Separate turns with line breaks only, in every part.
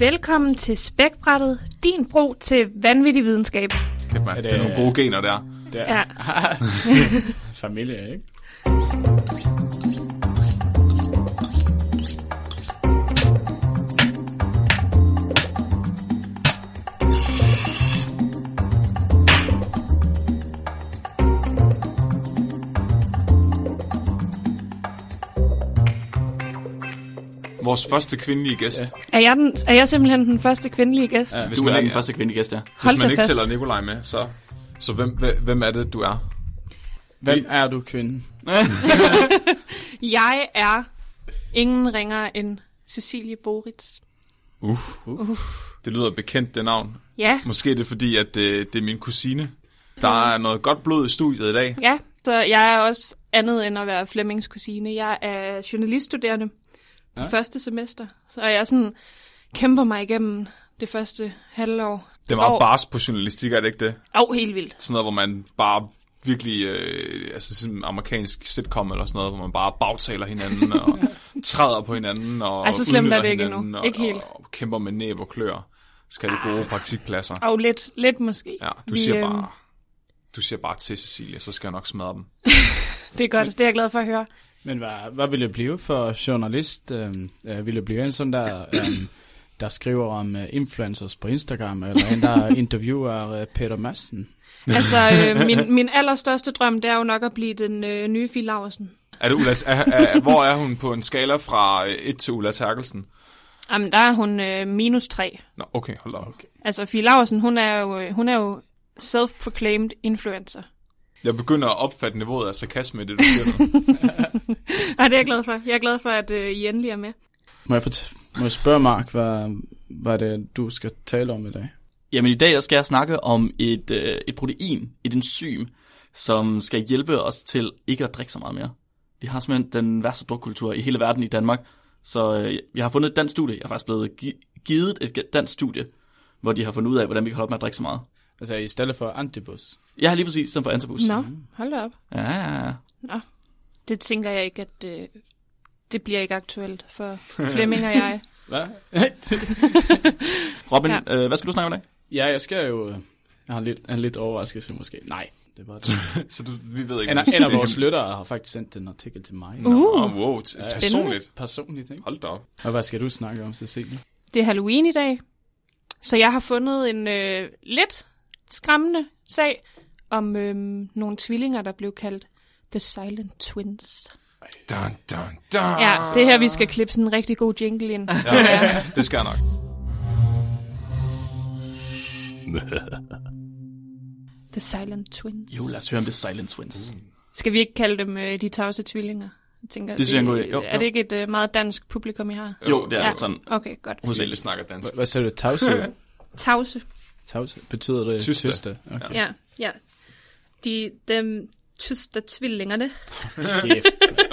Velkommen til Spækbrættet, din bro til vanvittig videnskab.
Kæft, man.
Er
Det
det-
er nogle gode gener der.
Der.
Ja.
Familie, ikke?
Vores første kvindelige gæst.
Ja.
Er jeg, den, er jeg simpelthen den første kvindelige gæst?
Ja.
Hvis
Du
du man
er-
er den første kvindelige gæst, ja.
Hold
Hvis man
da
ikke
fast.
tæller Nikolaj med, så, så hvem, hvem- hvem er det, du er?
Hvem
Vi-
er du, kvinde?
Jeg er ingen ringer end Cecilie Boritz.
Uh. uh. Det lyder bekendt, det navn.
Ja,
Måske er det fordi, at øh, det, det er min kusine. Der er noget godt blod i studiet i dag.
ja. Så jeg er også andet end at være Flemmings kusine. Jeg er journaliststuderende på
Ja.
første semester, så jeg sådan kæmper mig igennem det første halvår.
Det er meget
Åh.
bars på journalistik, er det ikke det?
Åh, helt vildt.
Sådan noget, hvor man bare virkelig, øh, altså sådan en amerikansk sitcom eller sådan noget, hvor man bare bagtaler hinanden og træder på hinanden og
Altså, slemt er
udnytter
det ikke
hinanden
endnu.
og,
Ikke helt. Ah.
Og, og kæmper med næb og klør. Skal have de gode praktikpladser.
Og lidt, lidt måske.
Ja, du
Vi,
siger
øhm,
bare, du siger bare til Cecilia, så skal jeg nok smadre dem.
Det er godt, det er jeg glad for at høre.
Men hvad, hvad vil jeg blive for journalist? Øhm, øh, vil jeg blive en sådan der, øhm, der skriver om øh, influencers på Instagram, eller en, der interviewer øh, Peter Madsen?
Altså, øh, min, min allerstørste drøm, det er jo nok at blive den øh, nye Fie Laursen.
Er det Ulla, er, er, hvor er hun på en skala fra 1 til Ulla Terkelsen?
Jamen, der er hun øh, minus tre.
Nå, okay, hold da op. Okay.
Altså, Fie Laursen, hun er jo, øh, hun er jo self-proclaimed influencer.
Jeg begynder at opfatte niveauet af sarkasme i det, du siger nu.
Ej, det er jeg glad for. Jeg er glad for, at øh, I endelig er med.
Må jeg, fort- må jeg spørge, Mark, hvad, hvad er det, du skal tale om i dag?
Jamen i dag der skal jeg snakke om et, øh, et protein, et enzym, som skal hjælpe os til ikke at drikke så meget mere. Vi har simpelthen den værste drukkultur i hele verden i Danmark, så øh, jeg har fundet et dansk studie, jeg er faktisk blevet gi- givet et ga- dansk studie, hvor de har fundet ud af, hvordan vi kan holde op med at drikke så meget.
Altså, i stedet for antibus.
Jeg har lige præcis stemt for antabus.
Nå, hold da op.
Ja, ja, ja.
Det tænker jeg ikke, at øh, det bliver ikke aktuelt for Flemming og jeg.
Hvad?
Robin,
Ja.
ja. Øh, hvad skal du snakke om i dag?
ja, jeg skal jo... øh, Jeg har lidt, en lidt overraskelse måske. Nej, det var det.
Så du, vi ved ikke.
En,
du skal
en af
blive-
vores lyttere har faktisk sendt en artikel til mig.
Uh.
Nå, wow, t-
Spændende.
personligt.
Personligt, ikke?
Hold da op.
Og hvad skal du snakke om, Cecilie?
Det er Halloween i dag, så jeg har fundet en øh, lidt skræmmende sag om øh, nogle tvillinger, der blev kaldt The Silent Twins.
Dun, dun, dun.
Ja, det er her, vi skal klippe sådan en rigtig god jingle ind. Ja.
Det skal jeg nok.
The Silent Twins.
Jo, lad os høre om det Silent Twins.
Skal vi ikke kalde dem øh, de tavse tvillinger? Jeg tænker,
Det synes jeg er en god idé. Jo,
er
jo.
det ikke et øh, meget dansk publikum, I har?
Jo, det er
Ja.
ja. sådan.
Okay, godt.
Selv
Hovedsageligt.
snakker dansk.
Hva- Hvad sagde du? Tavse?
Tavse.
Tavse? Betyder det
Tyste.
tyste? Okay.
Ja, ja. De, dem tyste tvillingerne.
Kæft.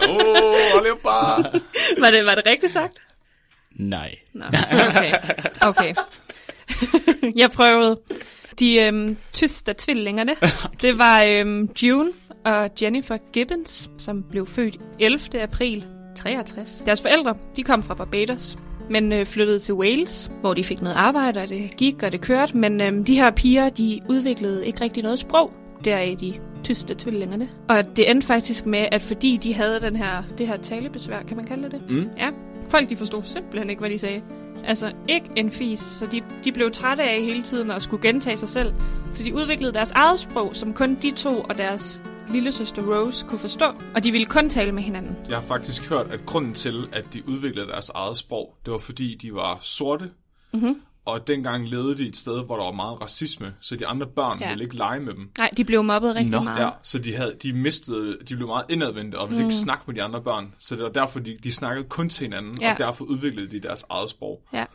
Åh, oh, Oliver bare.
Var det, var det rigtigt sagt?
Nej.
Nå, okay. okay. jeg prøvede. De øhm, tyste tvillingerne, det var øhm, June og Jennifer Gibbons, som blev født 11. april 63. Deres forældre, de kom fra Barbados, men øh, flyttede til Wales, hvor de fik noget arbejde, og det gik, og det kørte. Men øhm, de her piger, de udviklede ikke rigtig noget sprog. Deraf de tyste tvillingerne. Og det endte faktisk med, at fordi de havde den her, det her talebesvær, kan man kalde det det?
Mm.
Ja, folk de forstod simpelthen ikke, hvad de sagde. Altså, ikke en fis, så de, de blev trætte af hele tiden at skulle gentage sig selv. Så de udviklede deres eget sprog, som kun de to og deres lille søster Rose kunne forstå. Og de ville kun tale med hinanden.
Jeg har faktisk hørt, at grunden til, at de udviklede deres eget sprog, det var fordi, de var sorte. Mm-hmm.
Mhm.
Og dengang levede de et sted, hvor der var meget racisme, så de andre børn
Ja.
ja. ville ikke lege med dem.
Nej, de blev mobbet rigtig
Nå,
meget.
Ja, så de, havde, de mistede, de blev meget indadvendte og ville mm. ikke snakke med de andre børn. Så det var derfor, de, de snakkede kun til hinanden,
Ja.
og derfor udviklede de deres eget sprog.
Ja.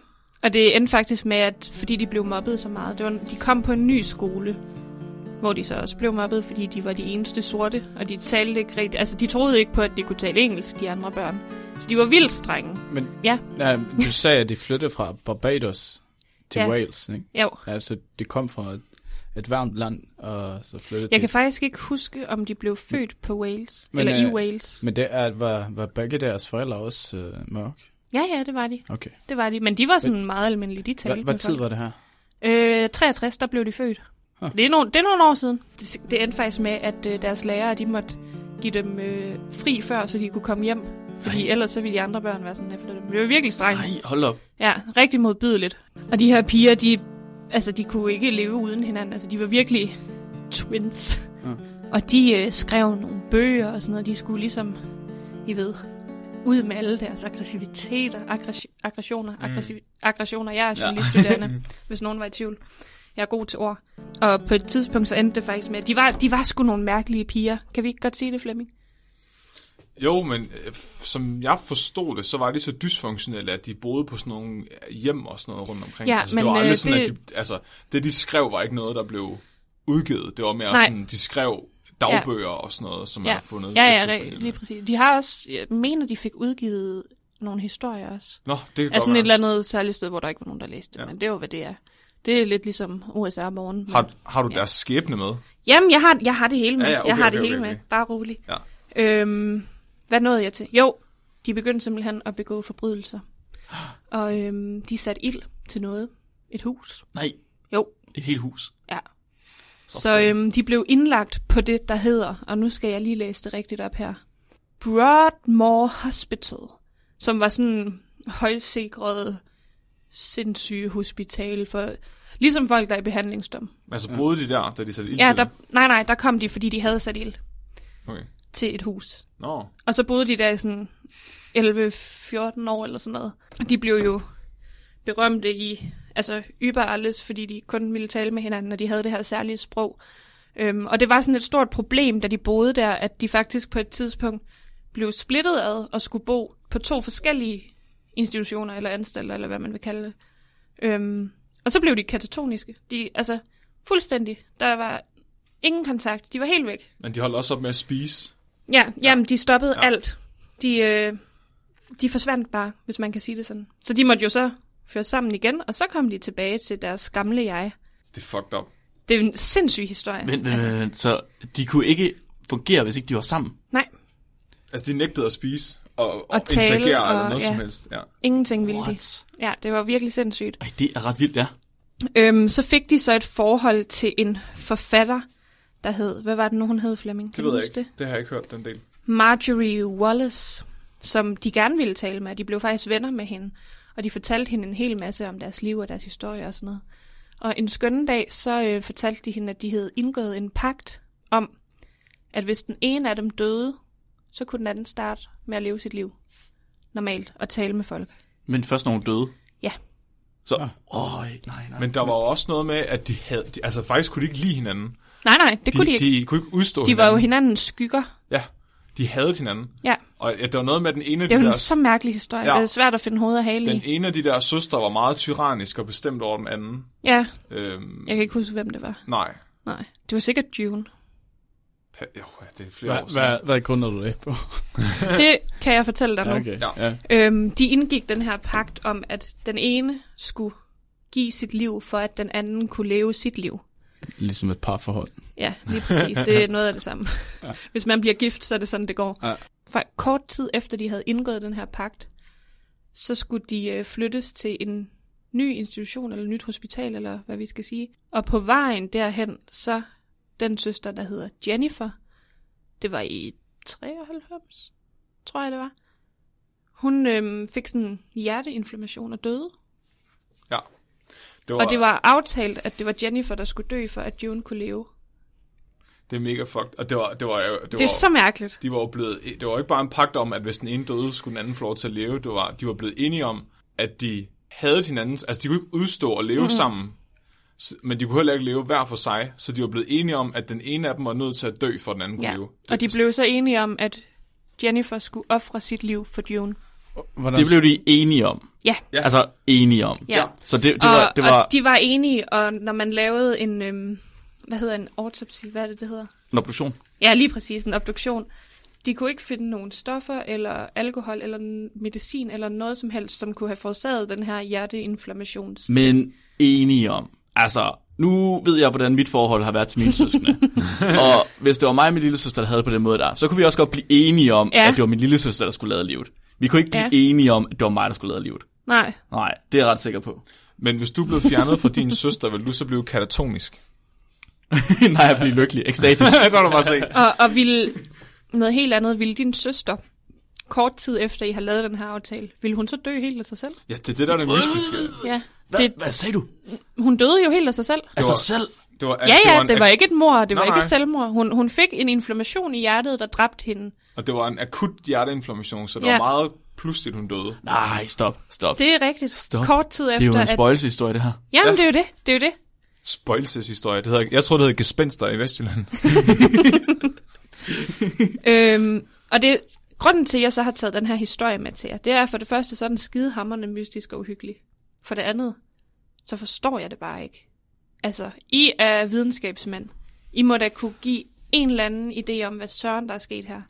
Og det endte faktisk med, at fordi de blev mobbet så meget, det var, de kom på en ny skole, hvor de så også blev mobbet, fordi de var de eneste sorte, og de talte ikke rigtigt, altså de troede ikke på, at de kunne tale engelsk, de andre børn. Så de var vildt strenge.
Men
Ja,
ja, du sagde, at de flyttede fra Barbados til
Ja.
ja. Wales, ikke?
jo.
Altså, de kom fra et, et varmt land, og så flyttede
Jeg
de.
kan faktisk ikke huske, om de blev født på Wales, Men,
Men,
eller i
øh,
Wales.
Men det er, var, var begge deres forældre også øh, mørk?
Ja, ja, det var de.
Okay.
Det var de. Men de var sådan meget almindelige, de talte
Hvad, hvad
med
tid
folk.
var det her?
Øh, 63, der blev de født.
Huh.
Det, er nogle, det er nogle år siden. Det, det endte faktisk med, at øh, deres lærere de måtte give dem øh, fri før, så de kunne komme hjem. Fordi
Ej.
ellers så ville de andre børn være sådan efter dem. Det var virkelig strengt.
Nej, hold op.
Ja, rigtig modbydeligt. Og de her piger, de, altså, de kunne ikke leve uden hinanden. Altså, de var virkelig twins.
Mm.
Ja.
Og de øh, skrev nogle bøger og sådan noget. De skulle ligesom, I ved, ud med alle deres aggressiviteter, aggres- aggressioner,
Mm.
aggressiv- aggressioner. Jeg er
Ja.
journaliststuderende, hvis nogen var i tvivl. Jeg er god til ord. Og på et tidspunkt så endte det faktisk med, at de var, de var sgu nogle mærkelige piger. Kan vi ikke godt sige det, Flemming?
Jo, men øh, f- som jeg forstod det, så var de så dysfunktionelle, at de boede på sådan nogle øh, hjem og sådan noget rundt omkring.
Ja,
altså,
men,
det var aldrig
øh,
sådan,
det-
at de, altså, det de skrev var ikke noget, der blev udgivet. Det var mere
Nej.
sådan, de skrev dagbøger og sådan noget, som man har fundet
ja, ja, re-
efterfølgende.
lige præcis. De har også, jeg mener, de fik udgivet nogle historier også.
Nå, det kan
er Altså, sådan et
godt
eller
være.
andet særligt sted, hvor der ikke var nogen, der læste det,
Ja.
ja. men det var, hvad det er. Det er lidt ligesom USA morgen. Men...
Har, har du deres skæbne med?
Jamen, jeg har, jeg har det hele med.
Ja, ja, okay,
jeg har det
okay,
hele
okay,
med.
okay.
Bare rolig.
Ja.
Øhm, hvad nåede jeg til? Jo, de begyndte simpelthen at begå forbrydelser. Og øhm, de satte ild til noget. Et hus.
Nej,
Jo,
et helt hus.
ja. Så
sådan.
øhm, de blev indlagt på det, der hedder, og nu skal jeg lige læse det rigtigt op her, Broadmoor Hospital, som var sådan højsikret sindssyge hospital for, ligesom folk, der er i behandlingsdom.
Altså boede de der, da de satte ild
Ja,
til
der,
det?
nej, nej, der kom de, fordi de havde sat ild
Okay.
til et hus.
Nå,
Og så boede de der i sådan 11-14 år eller sådan noget. Og de blev jo berømte i, altså yber alles, fordi de kun ville tale med hinanden, og de havde det her særlige sprog. Øhm, og det var sådan et stort problem, da de boede der, at de faktisk på et tidspunkt blev splittet ad og skulle bo på to forskellige institutioner eller anstalter, eller hvad man vil kalde det. Øhm, og så blev de katatoniske. De, altså, fuldstændig. Der var ingen kontakt. De var helt væk.
men de holdt også op med at spise.
Ja, jamen, de stoppede ja.
Ja.
alt. De, øh, de forsvandt bare, hvis man kan sige det sådan. Så de måtte jo så føre sammen igen, og så kom de tilbage til deres gamle jeg.
Det er fucked up.
Det er en sindssyg historie.
Vent, vent,
Altså.
vent, vent. Så de kunne ikke fungere, hvis ikke de var sammen.
nej,
Altså, de nægtede at spise og,
Og tale,
interagere eller
og-
noget
ja.
som helst. Ja.
ingenting ville de.
What?
Ja, det var virkelig sindssygt.
Ej, det er ret vildt, ja.
Øhm, så fik de så et forhold til en forfatter, der hed, hvad var det nu, hun hed, Flemming?
Det
du
ved jeg
huske
ikke. Det har jeg ikke hørt, den del.
Marjorie Wallace, som de gerne ville tale med. De blev faktisk venner med hende, og de fortalte hende en hel masse om deres liv og deres historie og sådan noget. Og en skønne dag, så øh, fortalte de hende, at de havde indgået en pagt om, at hvis den ene af dem døde, så kunne den anden starte med at leve sit liv normalt og tale med folk.
Men først når hun døde.
Ja.
Så,
Ah.
åh, nej, nej.
Men der var jo også noget med, at de havde... De, altså, faktisk kunne de ikke lide hinanden.
Nej, nej, det
De,
kunne de ikke.
de kunne ikke udstå
De
hinanden.
var jo hinandens skygger.
Ja, de havde hinanden.
Ja,
Og ja, der var noget med at den ene af
det
de
er jo en
der,
så mærkelig historie.
Ja.
Ja. Det er svært at finde hovedet og hale
den
i.
ene af de der søstre var meget tyrannisk og bestemt over den anden.
Ja,
Øhm,
jeg kan ikke huske, hvem det var.
Nej.
Nej, det var sikkert June.
Pa- Jo, ja, det er flere år
Hvad,
siden.
hvad, hvad grundede du det på?
Det kan jeg fortælle dig nu.
okay.
Ja.
Ja.
Øhm, de indgik den her pagt om, at den ene skulle give sit liv, for at den anden kunne leve sit liv.
Ligesom et parforhold.
Ja, lige præcis. Det er noget af det samme. Ja. Hvis man bliver gift, så er det sådan, det går.
Ja.
For kort tid efter, de havde indgået den her pagt, så skulle de øh, flyttes til en ny institution, eller nyt hospital, eller hvad vi skal sige. Og på vejen derhen, så den søster, der hedder Jennifer, det var i 93, tror jeg det var, hun øh, fik sådan en hjerteinflammation og døde.
ja. Det var,
Og det var aftalt, at det var Jennifer, der skulle dø, for at June kunne leve. Det,
det er mega fucked. Og det var, det var, jo- det var,
det er så mærkeligt.
de var jo blevet, det var jo ikke bare en pagt om, at hvis den ene døde, skulle den anden få lov til at leve. Det var, de var blevet enige om, at de havde hinanden, altså de kunne ikke udstå og
Mhm.
leve mm. sammen, S- men de kunne heller ikke leve hver for sig, så de var blevet enige om, at den ene af dem var nødt til at dø, for den anden kunne
Ja,
leve.
og de blev så enige om, at Jennifer skulle ofre sit liv for June.
Hvordan,
Det blev de enige om.
Ja,
Ja.
Altså, enige om.
ja.
Så det, det
Og,
var... Det var
og de var enige, og når man lavede en, øhm, hvad hedder en autopsi, hvad er det, det hedder?
en obduktion.
Ja, lige præcis, en obduktion. De kunne ikke finde nogen stoffer, eller alkohol, eller n- medicin, eller noget som helst, som kunne have forårsaget den her hjerteinflammation.
Men enige om. Altså, nu ved jeg, hvordan mit forhold har været til mine søskende. og hvis det var mig og min lille søster, der havde det på den måde der, så kunne vi også godt blive enige om,
Ja.
ja. at det var min lille søster, der skulle lade livet. Vi kunne ikke blive
Ja.
ja. enige om, at det var mig, der skulle lade livet.
Nej.
Nej, det er jeg ret sikker på.
Men hvis du blev fjernet fra din søster, ville du så blive katatonisk?
Nej, jeg bliver lykkelig. Ekstatisk.
det kan du bare se.
Og, og ville, noget helt andet, ville din søster, kort tid efter I har lavet den her aftale, ville hun så dø helt af sig selv?
Ja, det er det, der er det mystiske.
Ja.
Hva,
Det,
hvad sagde du?
hun døede jo helt af sig selv.
Af sig
var-
selv?
Det var,
Ja, ja,
en,
det var ikke et mor, det var
Nej,
ikke et
nej.
selvmord. Hun, hun fik en inflammation i hjertet, der dræbte hende.
Og det var en akut hjerteinflammation, så det
Ja.
var meget pludseligt, hun døde.
Nej, stop, stop. Det,
Det er rigtigt.
Stop.
Kort tid
det er
efter,
jo en
at...
spøjelseshistorie, det her.
Jamen, det er jo det. Det er jo det.
Spøjelseshistorie. Det hedder, jeg tror, det hedder gespenster i Vestjylland.
Øhm, og det, grunden til, at jeg så har taget den her historie med til jer, det er for det første, så er den skidehammerende mystisk og uhyggelig. For det andet, så forstår jeg det bare ikke. Altså, I er videnskabsmænd. I må da kunne give en eller anden idé om, hvad søren der er sket her.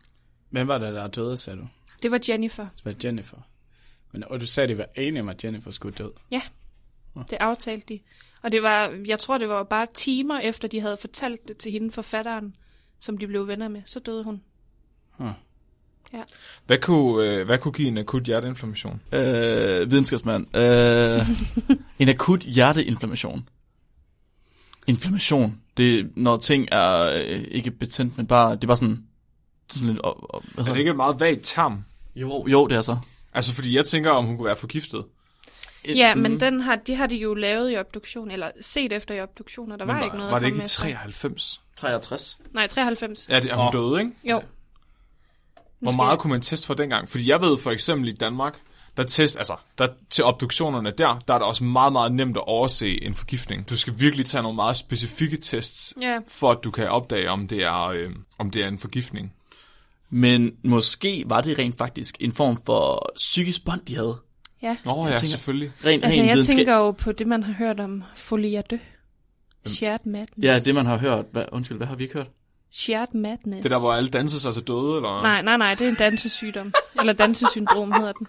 Hvem var det, der døde, sagde du?
Det var Jennifer.
Det var Jennifer. Men, og du sagde, det var enig om, at Jennifer skulle død.
Ja, det aftalte de. Og det var, jeg tror, det var bare timer efter, de havde fortalt det til hende forfatteren, som de blev venner med. Så døde hun.
Huh.
Ja.
Hvad kunne, øh, hvad kunne give en akut hjerteinflammation?
Øh, videnskabsmand. Øh, en akut hjerteinflammation. Inflammation. Det er, når ting er øh, ikke betændt, men bare, det er bare sådan, sådan lidt... Op, op,
Er
hvad hedder
det
det?
ikke et meget vagt term?
Jo, jo, det er så.
Altså, fordi jeg tænker, om hun kunne være forgiftet.
Ja,
øhm.
men den har, de har de jo lavet i obduktion, eller set efter i obduktioner. Der var,
Men
ikke noget
var
at
det ikke
komme
i
efter.
93?
63.
Nej, 93. Ja.
Ja, det, er hun
Nå.
døde, ikke?
Jo.
Hvor meget kunne man teste for dengang? Fordi jeg ved for eksempel i Danmark, der test, altså, der, til obduktionerne der, der er det også meget, meget nemt at overse en forgiftning. Du skal virkelig tage nogle meget specifikke tests,
Ja.
for at du kan opdage, om det er, øh, om det er en forgiftning.
Men måske var det rent faktisk en form for psykisk bånd, de havde.
Ja.
Nå oh, ja,
tænker-
selvfølgelig.
Ren,
Altså,
ren
jeg
videnskab.
tænker jo på det, man har hørt om folie à deux. Shared madness.
Ja, det man har hørt. Hvad, undskyld, hvad har vi ikke hørt?
Shared madness.
Det der, hvor alle danser sig til døde, eller?
Nej, nej, nej, det er en dansesygdom. Eller dansesyndrom hedder den.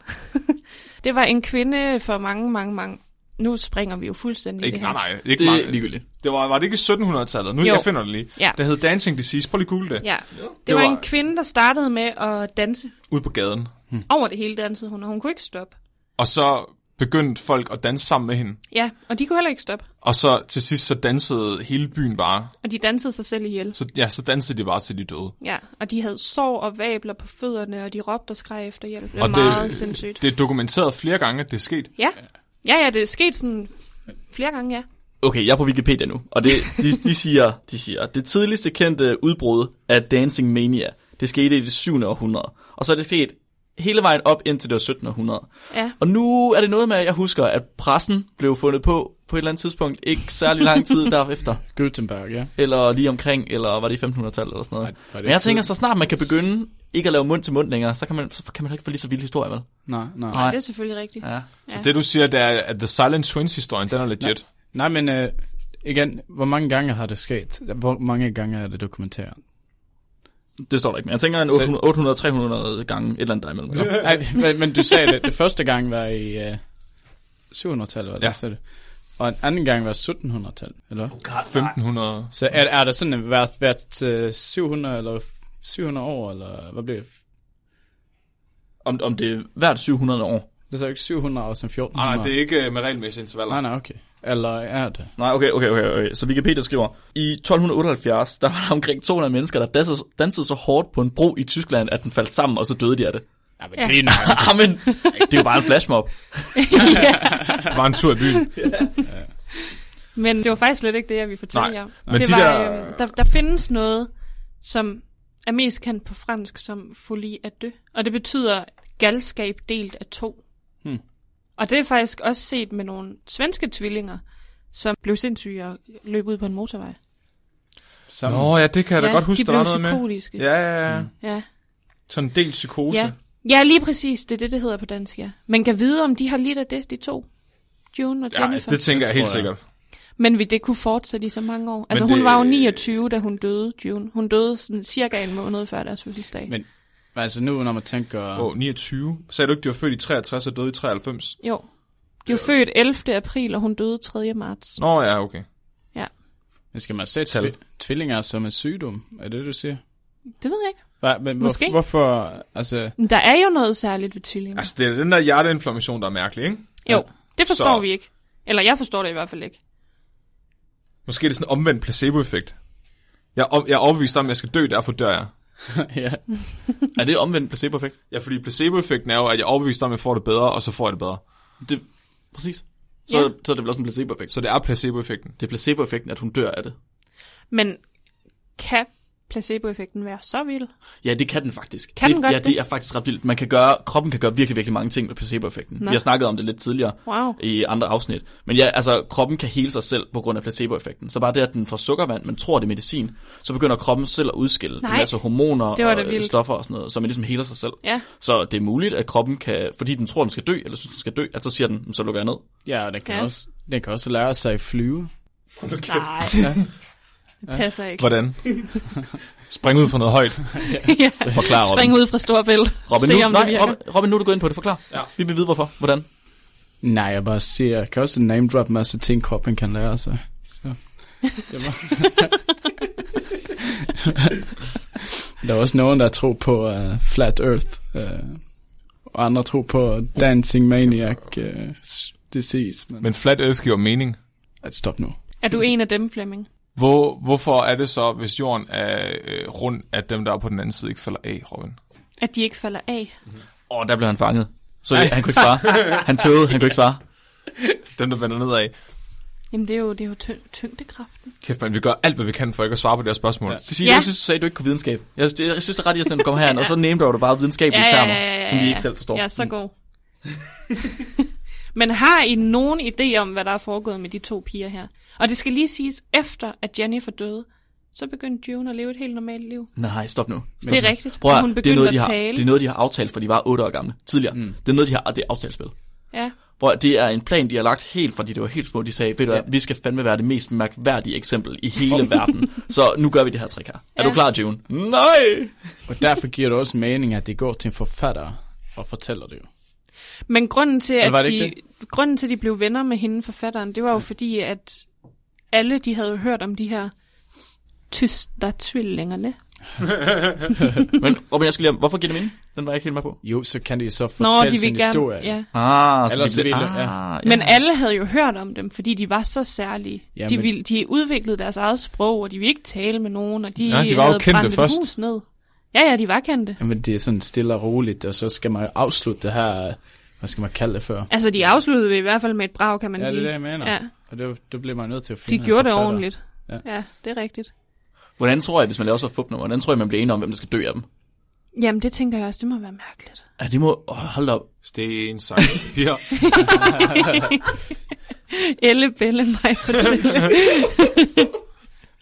det var en kvinde for mange, mange, mange... Nu springer vi jo fuldstændig i
Ikke,
det
nej,
her.
nej, ikke
Det
det,
er
meget.
ligegyldigt.
Det var, var det ikke 1700-tallet? Nu,
Jo.
jeg finder det lige.
Ja.
Det hed Dancing Disease. Prøv lige at google det.
Ja. Det,
Det
var,
var-
en kvinde, der startede med at danse.
Ude på gaden.
Over det hele dansede hun, og hun kunne ikke stoppe.
Og så begyndte folk at danse sammen med hende.
Ja, og de kunne heller ikke stoppe.
Og så til sidst, så dansede hele byen bare.
Og de dansede sig selv ihjel.
Så, ja, så dansede de bare til de døde.
Ja, og de havde sår og vabler på fødderne, og de råbte og skreg efter hjælp. Det var
Og det-
meget sindssygt.
Det er dokumenteret flere gange, at det er sket.
Ja. ja, ja, det er sket sådan flere gange, ja.
Okay, jeg er på Wikipedia nu, og det, de, de, siger, de siger, det tidligste kendte udbrud af Dancing Mania, det skete i det 7. århundrede, og så er det sket hele vejen op indtil det var 17. århundrede.
Ja,
Og nu er det noget med, at jeg husker, at pressen blev fundet på på et eller andet tidspunkt, ikke særlig lang tid derefter,
Gutenberg, ja.
eller lige omkring, eller var det i 1500-tallet eller sådan noget.
var det
Men jeg
ikke
tænker, så snart man kan begynde ikke at lave mund til mund længere, så kan man, så kan man ikke få lige så vild historie, vel?
Nej, nej.
Ah.
ja det er selvfølgelig rigtigt.
Ja.
Ja. Det du siger, det er, at The Silent Twins-historien, den er legit.
Nej, men øh, igen, hvor mange gange har det sket? Hvor mange gange er det dokumenteret?
Det står der ikke, men jeg tænker en
Så-
800-300 gange, et eller andet derimellem. Ja.
Nej, men, men du sagde det, det første gang var i øh, 700-tallet, eller
Ja.
ja. så det. Og en anden gang var 1700-tallet, eller hvad?
1500.
Så er, er der sådan hvert, hvert øh, 700 eller 700 år, eller hvad bliver det?
Om, om det er hvert 700 år.
Det er jo ikke 700 og så 1400.
Nej, nej, det er ikke øh, med regelmæssige intervaller.
nej, nej, okay. Eller er det?
Nej, okay, okay, okay, okay. Så Wikipedia skriver, i 1278, der var der omkring 200 mennesker, der dansede, dansede så hårdt på en bro i Tyskland, at den faldt sammen, og så døde de af det.
Ja, men
Ja.
det er nok.
Ah, men det er jo bare en flashmob.
Det var en tur i byen.
Men det var faktisk slet ikke det, jeg ville fortælle
Nej,
jer om.
men
det
de
var,
der-
øhm, der... Der findes noget, som er mest kendt på fransk som folie à deux. Og det betyder galskab delt af to.
Hmm.
Og det er faktisk også set med nogle svenske tvillinger, som blev sindssyge og løb ud på en motorvej.
Sammen.
Nå, ja, det kan jeg da
ja,
godt huske,
de
der var
blev
noget med.
psykotiske.
Ja, ja, ja.
Ja.
Sådan en del psykose.
Ja. ja, lige præcis. Det er det, det hedder på dansk, ja. Man kan vide, om de har lidt af det, de to. June og
Ja,
Jennifer. Ja,
det tænker jeg helt
tror jeg.
sikkert.
Men vi det kunne fortsætte i så mange år. Altså,
Men
hun
det-
var
øh,
jo 29, da hun døde, June. Hun døde sådan cirka en måned før deres fødselsdag.
Men altså nu, når man tænker...
Åh, oh, 29. Sagde du ikke, de var født i 63 og døde i 93?
Jo. De var født 11. april, og hun døde 3. marts.
Nå ja, okay.
Ja,
Men skal man se
Tal.
tvi- tvillinger som en sygdom? Er det, du siger?
det ved jeg ikke.
Hva, men hvor,
Måske.
Hvorfor, altså...
Men Der er jo noget særligt ved tvillinger.
Altså, det er den der hjerteinflammation, der er mærkelig, ikke?
jo, det forstår
så-
vi ikke. Eller jeg forstår det i hvert fald ikke.
Måske er det sådan en omvendt placeboeffekt. Jeg er, om, jeg er overbevist om, at jeg skal dø, derfor dør jeg.
ja.
Er det omvendt placeboeffekt?
Ja, fordi placeboeffekten er jo, at jeg er overbevist om, at jeg får det bedre, og så får jeg det bedre.
Det, præcis. Så,
Ja.
ja. så er det vel også en placeboeffekt.
Så det er placeboeffekten.
Det er placeboeffekten, at hun dør af det.
Men kan placeboeffekten være så vild?
Ja, det kan den faktisk.
Kan
det,
den godt
ja,
det?
det er faktisk ret vildt. Man kan gøre, kroppen kan gøre virkelig, virkelig mange ting med placeboeffekten.
Nå.
Vi har snakket om det lidt tidligere
Wow.
i andre afsnit. Men ja, altså, kroppen kan hele sig selv på grund af placeboeffekten. Så bare det, at den får sukkervand, man tror, det er medicin, så begynder kroppen selv at udskille
Nej.
en masse hormoner
Det var da
og øh,
vildt.
stoffer og sådan noget, så man ligesom heler sig selv.
Ja,
Så det er muligt, at kroppen kan, fordi den tror, den skal dø, eller synes, den skal dø, at så siger den, "Men så lukker jeg ned.
Ja, og den kan,
Ja.
ja. Også, den kan også lære sig at flyve.
nej. Det passer ikke.
Hvordan? Spring ud fra noget højt.
ja.
Forklar, Robin.
Spring ud fra Storbælt.
Robin,
Se,
nu,
om det
nej,
virker.
Robin, Robin, nu er du gået ind på det. Forklar.
Ja.
Vi vil vide, hvorfor. Hvordan?
Nej, jeg bare siger, jeg kan også name drop en masse ting, kroppen kan lære sig. Så. Det var... der er også nogen, der tror på uh, Flat Earth, uh, og andre tror på Dancing Maniac uh, Disease. Men, men...
Men flat earth giver mening.
Stop nu.
Er du en af dem, Flemming?
Hvor, hvorfor er det så, hvis jorden er øh, rund, at dem, der er på den anden side, ikke falder af, Robin?
At de ikke falder af?
Åh, oh, der blev han fanget. Så han kunne ikke svare. Han tøvede, han kunne ikke svare.
Dem, der vender nedad.
Jamen, det er jo, det er jo tyng- tyngdekraften.
Kæft, man, vi gør alt, hvad vi kan for ikke at svare på det her spørgsmål. Ja.
Ja.
Cecilie,
Ja.
ja. jeg synes, du sagde, at du ikke kunne videnskab. Jeg synes, det, jeg synes, det er ret irriterende, at du kommer herind, og så name du bare videnskabelige termer, som vi ikke selv forstår. Mm.
Jeg er så god. Men har I nogen idé om, hvad der er foregået med de to piger her? Og det skal lige siges, efter at Jennifer døde, så begyndte June at leve et helt normalt liv.
Nej, stop nu.
Så det er rigtigt.
Prøv
og
at,
hun
høre, det,
begyndte
er noget, de
at
har,
tale.
det er noget, de har aftalt, for de var 8 år gamle tidligere. Mm. Det er noget, de har, det er aftalespil.
Ja.
Prøv at, det er en plan, de har lagt helt fra de det var helt små. De sagde, ved du ja. vi skal fandme være det mest mærkværdige eksempel i hele verden. Så nu gør vi det her trick her. Er
Ja.
du klar, June? Nej!
Og derfor giver det også mening, at det går til en forfatter og fortæller det jo.
Men grunden til, at
var det
de,
ikke
grunden til, at de blev venner med hende, forfatteren, det var jo fordi, at alle de havde hørt om de her tyster-tvillingerne.
Men Robin, jeg skal lige om, hvorfor giver det mening? Den var jeg ikke helt med på.
Jo, så kan de så
Nå,
fortælle
de
sin
vil gerne...
historie.
Ja.
Ah, så
Ellers
de blev,
ville- ja.
ah,
Men alle havde jo hørt om dem, fordi de var så særlige.
Ja,
de,
men-
ville, de udviklede deres eget sprog, og de ville ikke tale med nogen, og de,
Ja, de var jo
havde
kendte
brændt et
først.
hus ned. Ja, ja, de var kendte.
Jamen, det er sådan stille og roligt, og så skal man jo afslutte det her, hvad skal man kalde det før?
Altså, de afsluttede det i hvert fald med et brag, kan man
Ja, det
sige.
er det, jeg mener.
Ja.
Ja. Og det, det bliver man nødt til at
De
finde. en
gjorde det
forfatter.
ordentligt. Ja.
Ja.
ja, det er rigtigt.
Ah. Hvordan tror jeg, hvis man laver så fup nummer, hvordan tror jeg, man bliver enige om, hvem der skal dø af dem?
Jamen, det tænker jeg også, det må være mærkeligt.
Ja, det må... Oh, hold op.
Sten, sejl, papir.
Elle Belle mig fortælle.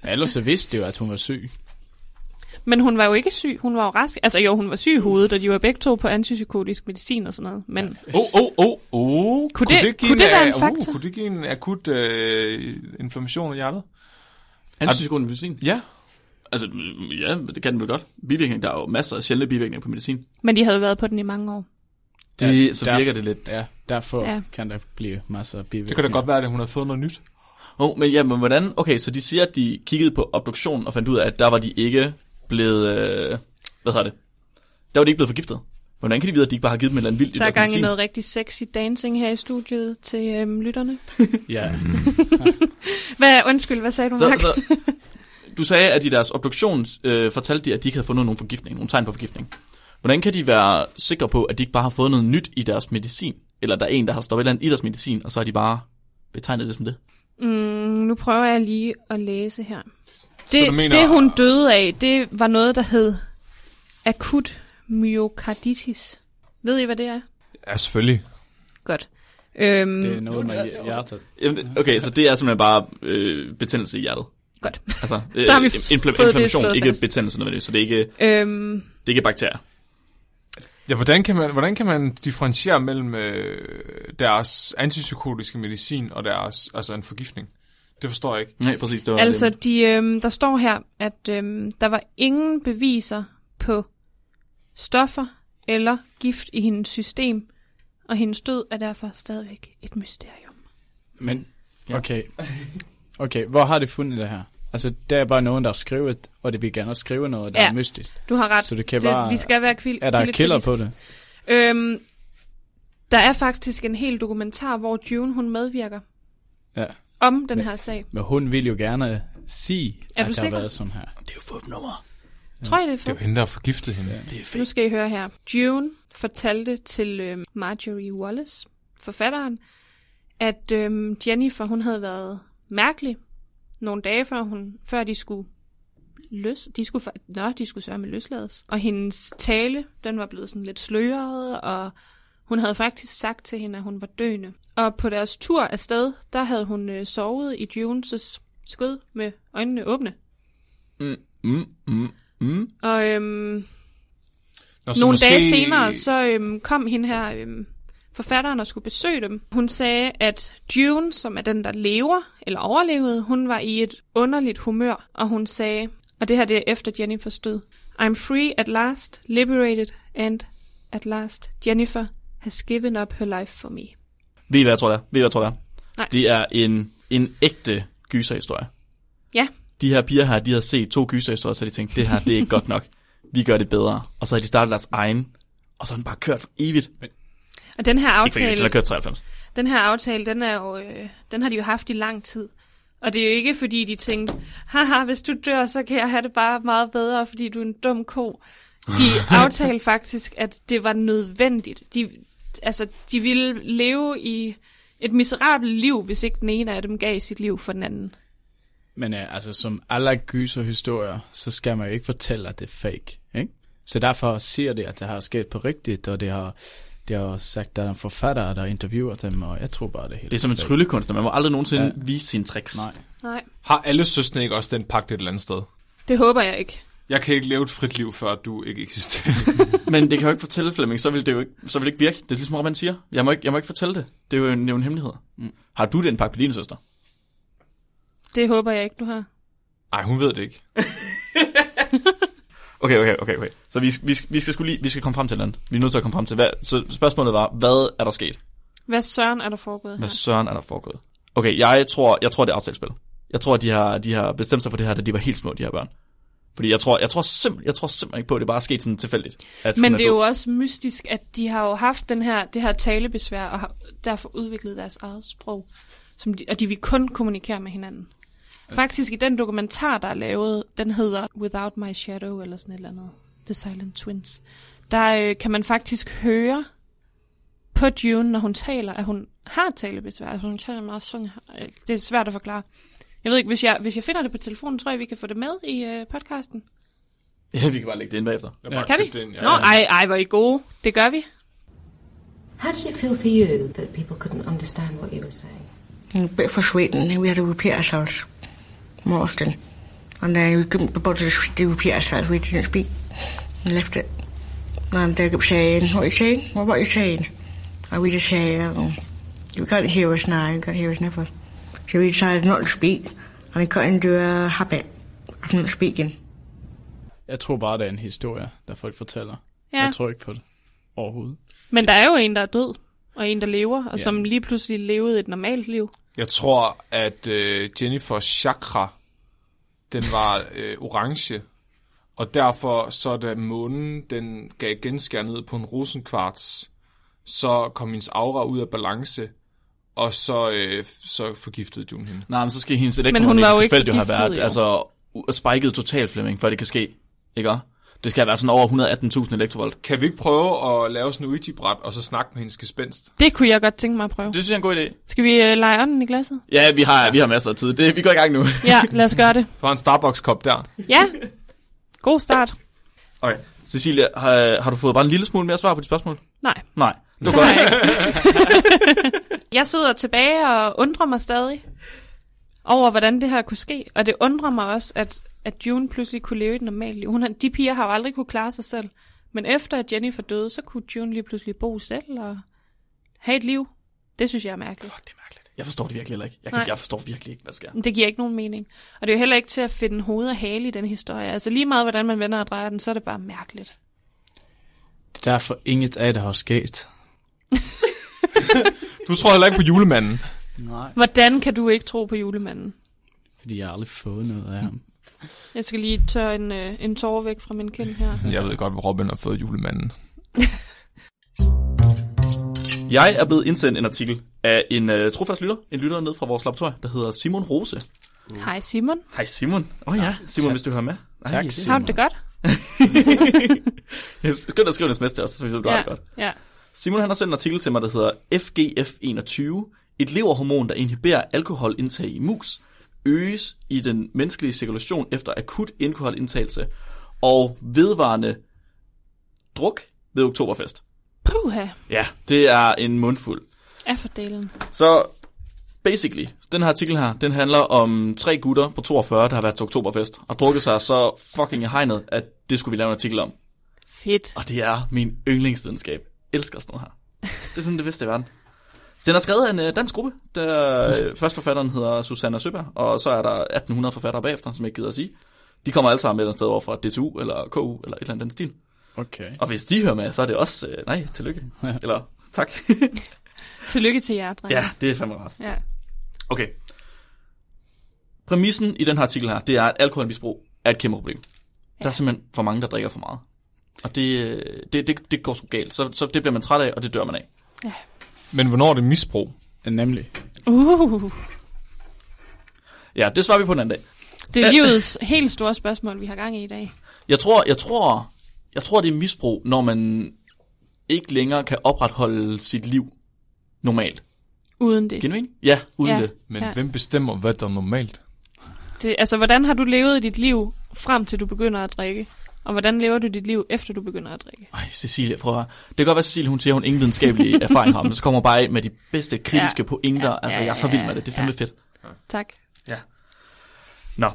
Ja, ellers så vidste de jo, at hun var syg.
Men hun var jo ikke syg, hun var jo rask. Altså jo, hun var syg i hovedet, og de var begge to på antipsykotisk medicin og sådan noget. Men ja.
Oh, oh, oh, oh.
Kunne det-
give
kunne det være en
øh,
faktor?
Uh, kunne det give en akut øh, inflammation i hjertet?
Antipsykotisk medicin?
Ja.
Altså, mm, ja, det kan den vel godt. Bivirkning, der er jo masser af sjældne bivirkninger på medicin.
Men de havde jo været på den i mange år.
Det, så
der-
virker det lidt.
Ja, derfor
Ja.
ja. kan der blive masser af bivirkninger.
Det kan da godt være, at hun har fået noget nyt.
Oh, men ja, men hvordan... Okay, så de siger, at de kiggede på obduktionen og fandt ud af, at der var de ikke blevet... Øh, hvad hedder det? Der var de ikke blevet forgiftet. Hvordan kan de vide, at de ikke bare har givet dem et eller andet vildt i
Der er
deres
gang i
medicin?
noget rigtig sexy dancing her i studiet til øhm, lytterne.
Ja,
Hvad, undskyld, hvad sagde du,
Så,
Mark?
så, du sagde, at i deres obduktion øh, fortalte de, at de ikke havde fundet nogen forgiftning, nogle tegn på forgiftning. Hvordan kan de være sikre på, at de ikke bare har fået noget nyt i deres medicin? Eller der er en, der har stoppet et eller andet i deres medicin, og så har de bare betegnet det som det?
Mm, nu prøver jeg lige at læse her.
du
Det,
mener-
mener... det hun døde af, det var noget, der hed akut myokarditis. Ved I, hvad det er?
Ja, selvfølgelig.
Godt. Øhm,
det er noget med hjer- hjertet.
Jamen, Okay, så det er simpelthen bare øh, betændelse i hjertet.
Godt.
Altså, øh,
Så har vi
infl-
fået det
inflammation,
slået
ikke
fast.
betændelse nødvendigvis, så det er ikke, det
Øhm,
er ikke bakterier.
Ja, hvordan kan man, hvordan kan man differentiere mellem øh, deres antipsykotiske medicin og deres, altså en forgiftning? Det forstår jeg ikke.
Nej, præcis. Det var
Altså,
det.
de, øhm, der står her, at øhm, der var ingen beviser på stoffer eller gift i hendes system, og hendes død er derfor stadigvæk et mysterium.
Men, okay. Okay, hvor har de fundet det her? Altså, der er bare nogen, der har skrevet, og det vil gerne skrive noget, der
Ja.
er mystisk.
Du har ret.
Så det kan bare-
de skal være kvil-
Er der
kildekritiske.
kælder på det?
Øhm, der er faktisk en hel dokumentar, hvor June hun medvirker
Ja.
om den her sag.
Men hun vil jo gerne sige,
Er
at
du
der
sikker?
har været sådan her.
Det er jo fupnummer.
Tror I det er
Det er jo
fedt?
hende, der har forgiftet hende. Ja.
Det er
Nu
fedt.
skal I høre her. June fortalte til øhm, Marjorie Wallace, forfatteren, at øhm, Jennifer hun havde været mærkelig nogle dage før, hun, før de skulle løs, de skulle, for, nå, de skulle sørge med løslades. Og hendes tale, den var blevet sådan lidt sløret, og hun havde faktisk sagt til hende, at hun var døende. Og på deres tur afsted, der havde hun øh, sovet i Junes skød med øjnene åbne.
Mm, mm, mm, mm.
Og øhm,
Nå,
Nogle måske... dage senere, så øhm, kom hende her, øhm, forfatteren, og skulle besøge dem. Hun sagde, at June, som er den, der lever, eller overlevede, hun var i et underligt humør, og hun sagde, og det her det er efter Jennifer stod, I'm free at last, liberated, and at last, Jennifer has given up her life for me.
Ved I, hvad jeg tror, det er? Ved I, hvad jeg tror, det er?
Nej.
Det er en, en ægte gyserhistorie.
Ja,
De her piger her, de havde set to gyserhistorier, så de tænkte, det her, det er ikke godt nok. Vi gør det bedre. Og så havde de startet deres egen, og så har den bare kørt for evigt.
og den her
Ikke for evigt,
aftale...
den har kørt 93.
Den her aftale, den, er jo, øh, den har de jo haft i lang tid. Og det er jo ikke, fordi de tænkte, haha, hvis du dør, så kan jeg have det bare meget bedre, fordi du er en dum ko. De aftalte faktisk, at det var nødvendigt. De, altså, de ville leve i et miserabelt liv, hvis ikke den ene af dem gav sit liv for den anden.
Men øh, altså, som alle gyserhistorier, så skal man jo ikke fortælle, at det er fake. Ikke? Så derfor siger det, at det har sket på rigtigt, og det har, det har sagt, at der er en forfatter, der interviewer dem, og jeg tror bare, det hele
Det er som en tryllekunstner. Man må aldrig nogensinde ja.
Ja.
vise sine tricks.
Nej.
Nej,
Har alle søsne ikke også den pagt et eller andet sted?
det håber jeg ikke.
Jeg kan ikke leve et frit liv, før du ikke eksisterer.
Men det kan jeg jo ikke fortælle Flemming, så vil det jo ikke, så vil det ikke virke. Det er ligesom Robin siger. Jeg må ikke, jeg må ikke fortælle det. Det er jo en, det er jo en hemmelighed. Mm. Har du den pakke på din søster?
Det håber jeg ikke, du har.
Nej, hun ved det ikke.
Okay, okay, okay, okay. Så vi, vi, vi skal skulle lige, vi skal komme frem til noget. Vi er nødt til at komme frem til. Hvad, så spørgsmålet var, hvad er der sket?
Hvad søren er der foregået
Hvad
her?
søren er der foregået? Okay, jeg tror, jeg tror det er aftalespil. Jeg tror, de har, de har bestemt sig for det her, da de var helt små, de her børn. Fordi jeg tror, jeg tror, simpel, jeg tror simpelthen ikke på, at det bare er sket sådan tilfældigt. At hun
Men det er
død.
jo også mystisk, at de har jo haft den her, det her talebesvær, og har derfor udviklet deres eget sprog. Som de, og de vil kun kommunikere med hinanden. Faktisk i den dokumentar, der er lavet, den hedder Without My Shadow, eller sådan et eller andet. The Silent Twins. Der øh, kan man faktisk høre på June, når hun taler, at hun har talebesvær. Altså hun taler meget sådan her. Øh, Det er svært at forklare. Jeg ved ikke, hvis jeg, hvis jeg finder det på telefonen, tror jeg, vi kan få det med i øh, podcasten.
Ja, vi kan bare lægge det ind bagefter.
Jeg har bare
Kan
købt
vi?
den, ja.
Nå, ej, ej, hvor er I gode. Det gør vi.
How did it feel for you that people couldn't understand what you were saying?
A Mm, bit frustrating. We had to repeat ourselves more often. And uh, we couldn't be bothered to repeat ourselves. We didn't speak and left it. And uh, they kept saying, What are you saying? Well, what are you saying? And we just say, oh, You can't hear us now, you can't hear us never. So we decided not to speak and it got into a habit of not speaking.
Jeg tror bare, det er en historie, der folk fortæller.
Ja.
Jeg tror ikke på det overhovedet.
Men der er jo en, der er død, og en, der lever, og
Ja.
som lige pludselig levede et normalt liv.
Jeg tror, at øh, Jennifer chakra, den var øh, orange, og derfor så da månen, den gav genskær ned på en rosenkvarts, så kom hendes aura ud af balance, og så, øh, så forgiftede June hende.
Nej, men så skal hendes
hun var jo
elektromagnetiske
ikke
felt jo have
forgiftet,
været
jo.
altså, u- spiket totalt, Flemming, før det kan ske. Ikke også? Det skal være sådan over 118.000 elektrovolt.
Kan vi ikke prøve at lave sådan en Ouija-bræt, og så snakke med hendes gespenst?
Det kunne jeg godt tænke mig at prøve.
Det synes jeg er en god idé.
Skal vi øh, lege ånden i glasset?
Ja, vi har, vi har masser af tid. Det, vi går i gang nu.
Ja, lad os gøre det.
Du har en Starbucks-kop der.
Ja, god start.
Okay. Cecilia, har, har du fået bare en lille smule mere svar på dit spørgsmål?
Nej,
Nej.
det har jeg ikke. jeg sidder tilbage og undrer mig stadig over, hvordan det her kunne ske. Og det undrer mig også, at, at June pludselig kunne leve et normalt liv. Hun, har- de piger har jo aldrig kunne klare sig selv. Men efter at Jennifer døde, så kunne June lige pludselig bo selv og have et liv. Det synes jeg er mærkeligt.
Fuck, det er mærkeligt. Jeg forstår det virkelig heller ikke. Jeg, kan,
Nej.
jeg forstår virkelig ikke, hvad der sker.
Men Det giver ikke nogen mening. Og det er jo heller ikke til at finde hoved og hale i den historie. Altså lige meget, hvordan man vender og drejer den, så er det bare mærkeligt.
Det er derfor inget af det har sket.
Du tror heller ikke på julemanden.
Hvordan kan du ikke tro på julemanden?
fordi jeg har aldrig fået noget af ham.
Jeg skal lige tørre en, øh, en tårer væk fra min kind her.
Jeg ved godt, hvor Robin har fået julemanden.
Jeg er blevet indsendt en artikel af en uh, trofast lytter, en lytter ned fra vores laboratorium, der hedder Simon Rose.
Hej Simon.
Hej Simon. Åh oh, ja, Simon, hvis du hører med. Ej,
Tak,
det-
Simon.
Har du det godt?
Skynd dig at skrive en sms til os, så vi ved, du ja. har
ja.
det godt.
ja.
Simon han har sendt en artikel til mig, der hedder FGF21, et leverhormon, der inhiberer alkoholindtag i mus, øges i den menneskelige cirkulation efter akut alkoholindtagelse og vedvarende druk ved oktoberfest.
Puha,
Ja, det er en mundfuld.
af fordelen.
Så basically, den her artikel her, den handler om tre gutter på 42, der har været til oktoberfest og drukket sig så fucking i hegnet, at det skulle vi lave en artikel om.
Fedt.
Og det er min yndlingsvidenskab. Elsker sådan noget her. Det er simpelthen det bedste i verden. Den er skrevet af en øh, dansk gruppe. Der, øh, først forfatteren hedder Susanna Søberg, og så er der 1800 forfattere bagefter, som jeg ikke gider at sige. De kommer alle sammen et eller andet sted over fra DTU eller KU eller et eller andet den stil.
Okay.
Og hvis de hører med, så er det også, øh, nej, tillykke. Eller tak.
Tillykke til jer, drenge.
ja, det er fandme rart.
ja.
Okay. Præmissen i den her artikel her, det er, at alkoholmisbrug er et kæmpe problem. Ja. Der er simpelthen for mange, der drikker for meget. Og det, øh, det, det, det går sgu galt. Så, så det bliver man træt af, og det dør man af.
Men hvornår er det misbrug?
Nemlig.
Uh,
Ja, det svarer vi på en anden dag.
det er livets helt store spørgsmål, vi har gang i i dag.
Jeg tror, jeg tror, jeg tror det er misbrug, når man ikke længere kan opretholde sit liv normalt.
Uden det.
Giver det mening? Ja, uden
Ja.
ja. det.
Men
Ja.
ja. hvem bestemmer, hvad der er normalt?
det. Altså, hvordan har du levet dit liv, frem til du begynder at drikke? Og hvordan lever du dit liv, efter du begynder at drikke?
Ej, Cecilie, prøv at høre. Det kan godt være, Cecilie, hun siger, hun ingen videnskabelig erfaring har, men så kommer hun bare af med de bedste kritiske
Ja.
ja. pointer.
Ja.
Altså,
Ja,
jeg er så
ja,
vild med det. Det er fandme
ja.
ja. fedt.
Tak.
Nå.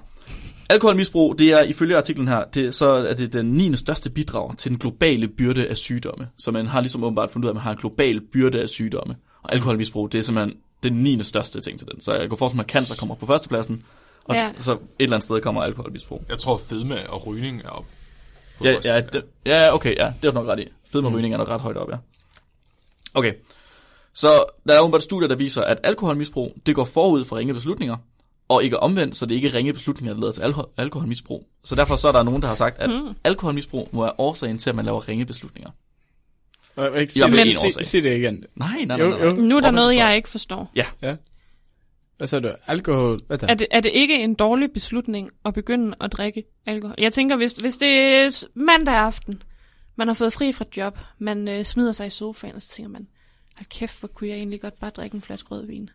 Alkoholmisbrug, det er ifølge artiklen her, det, så er det den 9. største bidrag til den globale byrde af sygdomme. Så man har ligesom åbenbart fundet ud af, at man har en global byrde af sygdomme. Og alkoholmisbrug, det er simpelthen den 9. største ting til den. Så jeg går for, at cancer kommer på førstepladsen, og
Ja.
ja. så et eller andet sted kommer alkoholmisbrug.
Jeg tror, fedme og rygning er op. på
Ja,
første.
ja, det, ja, okay, ja, det er du nok ret i. Fedme
Mm.
og rygning er nok ret højt op, ja. Okay, så der er åbenbart studier, der viser, at alkoholmisbrug, det går forud for ringe beslutninger, og ikke omvendt, så det er ikke ringe beslutninger, der leder til alko- alkoholmisbrug. Så derfor så er der nogen, der har sagt, at
Hmm.
alkoholmisbrug må være årsagen til, at man laver ringe beslutninger.
Og Ikke,
Jeg
sig,
vil
men,
en
sig,
årsag.
sig det igen.
Nej, nej, nej,
Jo,
nej.
jo.
nej.
Nu er der
Robin
noget,
forstår.
jeg ikke forstår.
Hvad så du? Alkohol? Hvad der?
Er det, er det ikke en dårlig beslutning at begynde at drikke alkohol? Jeg tænker, hvis, hvis det er s- mandag aften, man har fået fri fra job, man øh, smider sig i sofaen, og så tænker man, hold kæft, hvor kunne jeg egentlig godt bare drikke en flaske rødvin.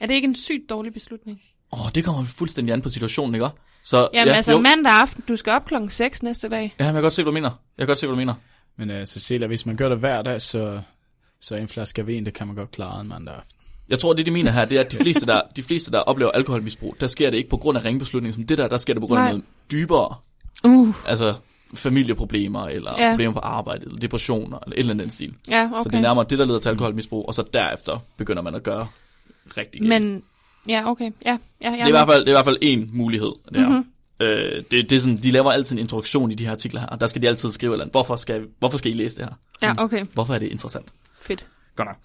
Er det ikke en sygt dårlig beslutning?
Åh, det kommer fuldstændig an på situationen, ikke? også? Så,
Jamen ja, altså
jo.
mandag aften, du skal op klokken 6 næste dag.
Ja, men jeg kan godt se, hvad du mener. Jeg kan godt se, hvad du mener.
Men uh, Cecilia, hvis man gør det hver dag, så, så en flaske vin, det kan man godt klare en mandag aften.
Jeg tror, det de mener her, det er, at de fleste, der, de fleste, der oplever alkoholmisbrug, der sker det ikke på grund af ringbeslutninger som det der, der sker det på grund af
Nej.
noget dybere,
Uh,
altså familieproblemer, eller
Ja.
ja. problemer på arbejde, eller depressioner, eller et eller andet i den stil. Okay.
ja, okay.
Så det er nærmere det, der leder til alkoholmisbrug, og så derefter begynder man at gøre rigtig galt.
Men, ja, okay. Ja, ja,
det, er i hvert fald, det er i hvert fald en mulighed, det er.
Mhm.
Mm-hmm. Øh, det, det er sådan, de laver altid en introduktion i de her artikler her, og der skal de altid skrive, et eller andet, hvorfor skal, hvorfor skal I læse det her?
Ja, okay.
Hvorfor er det interessant?
Fedt.
Godt nok.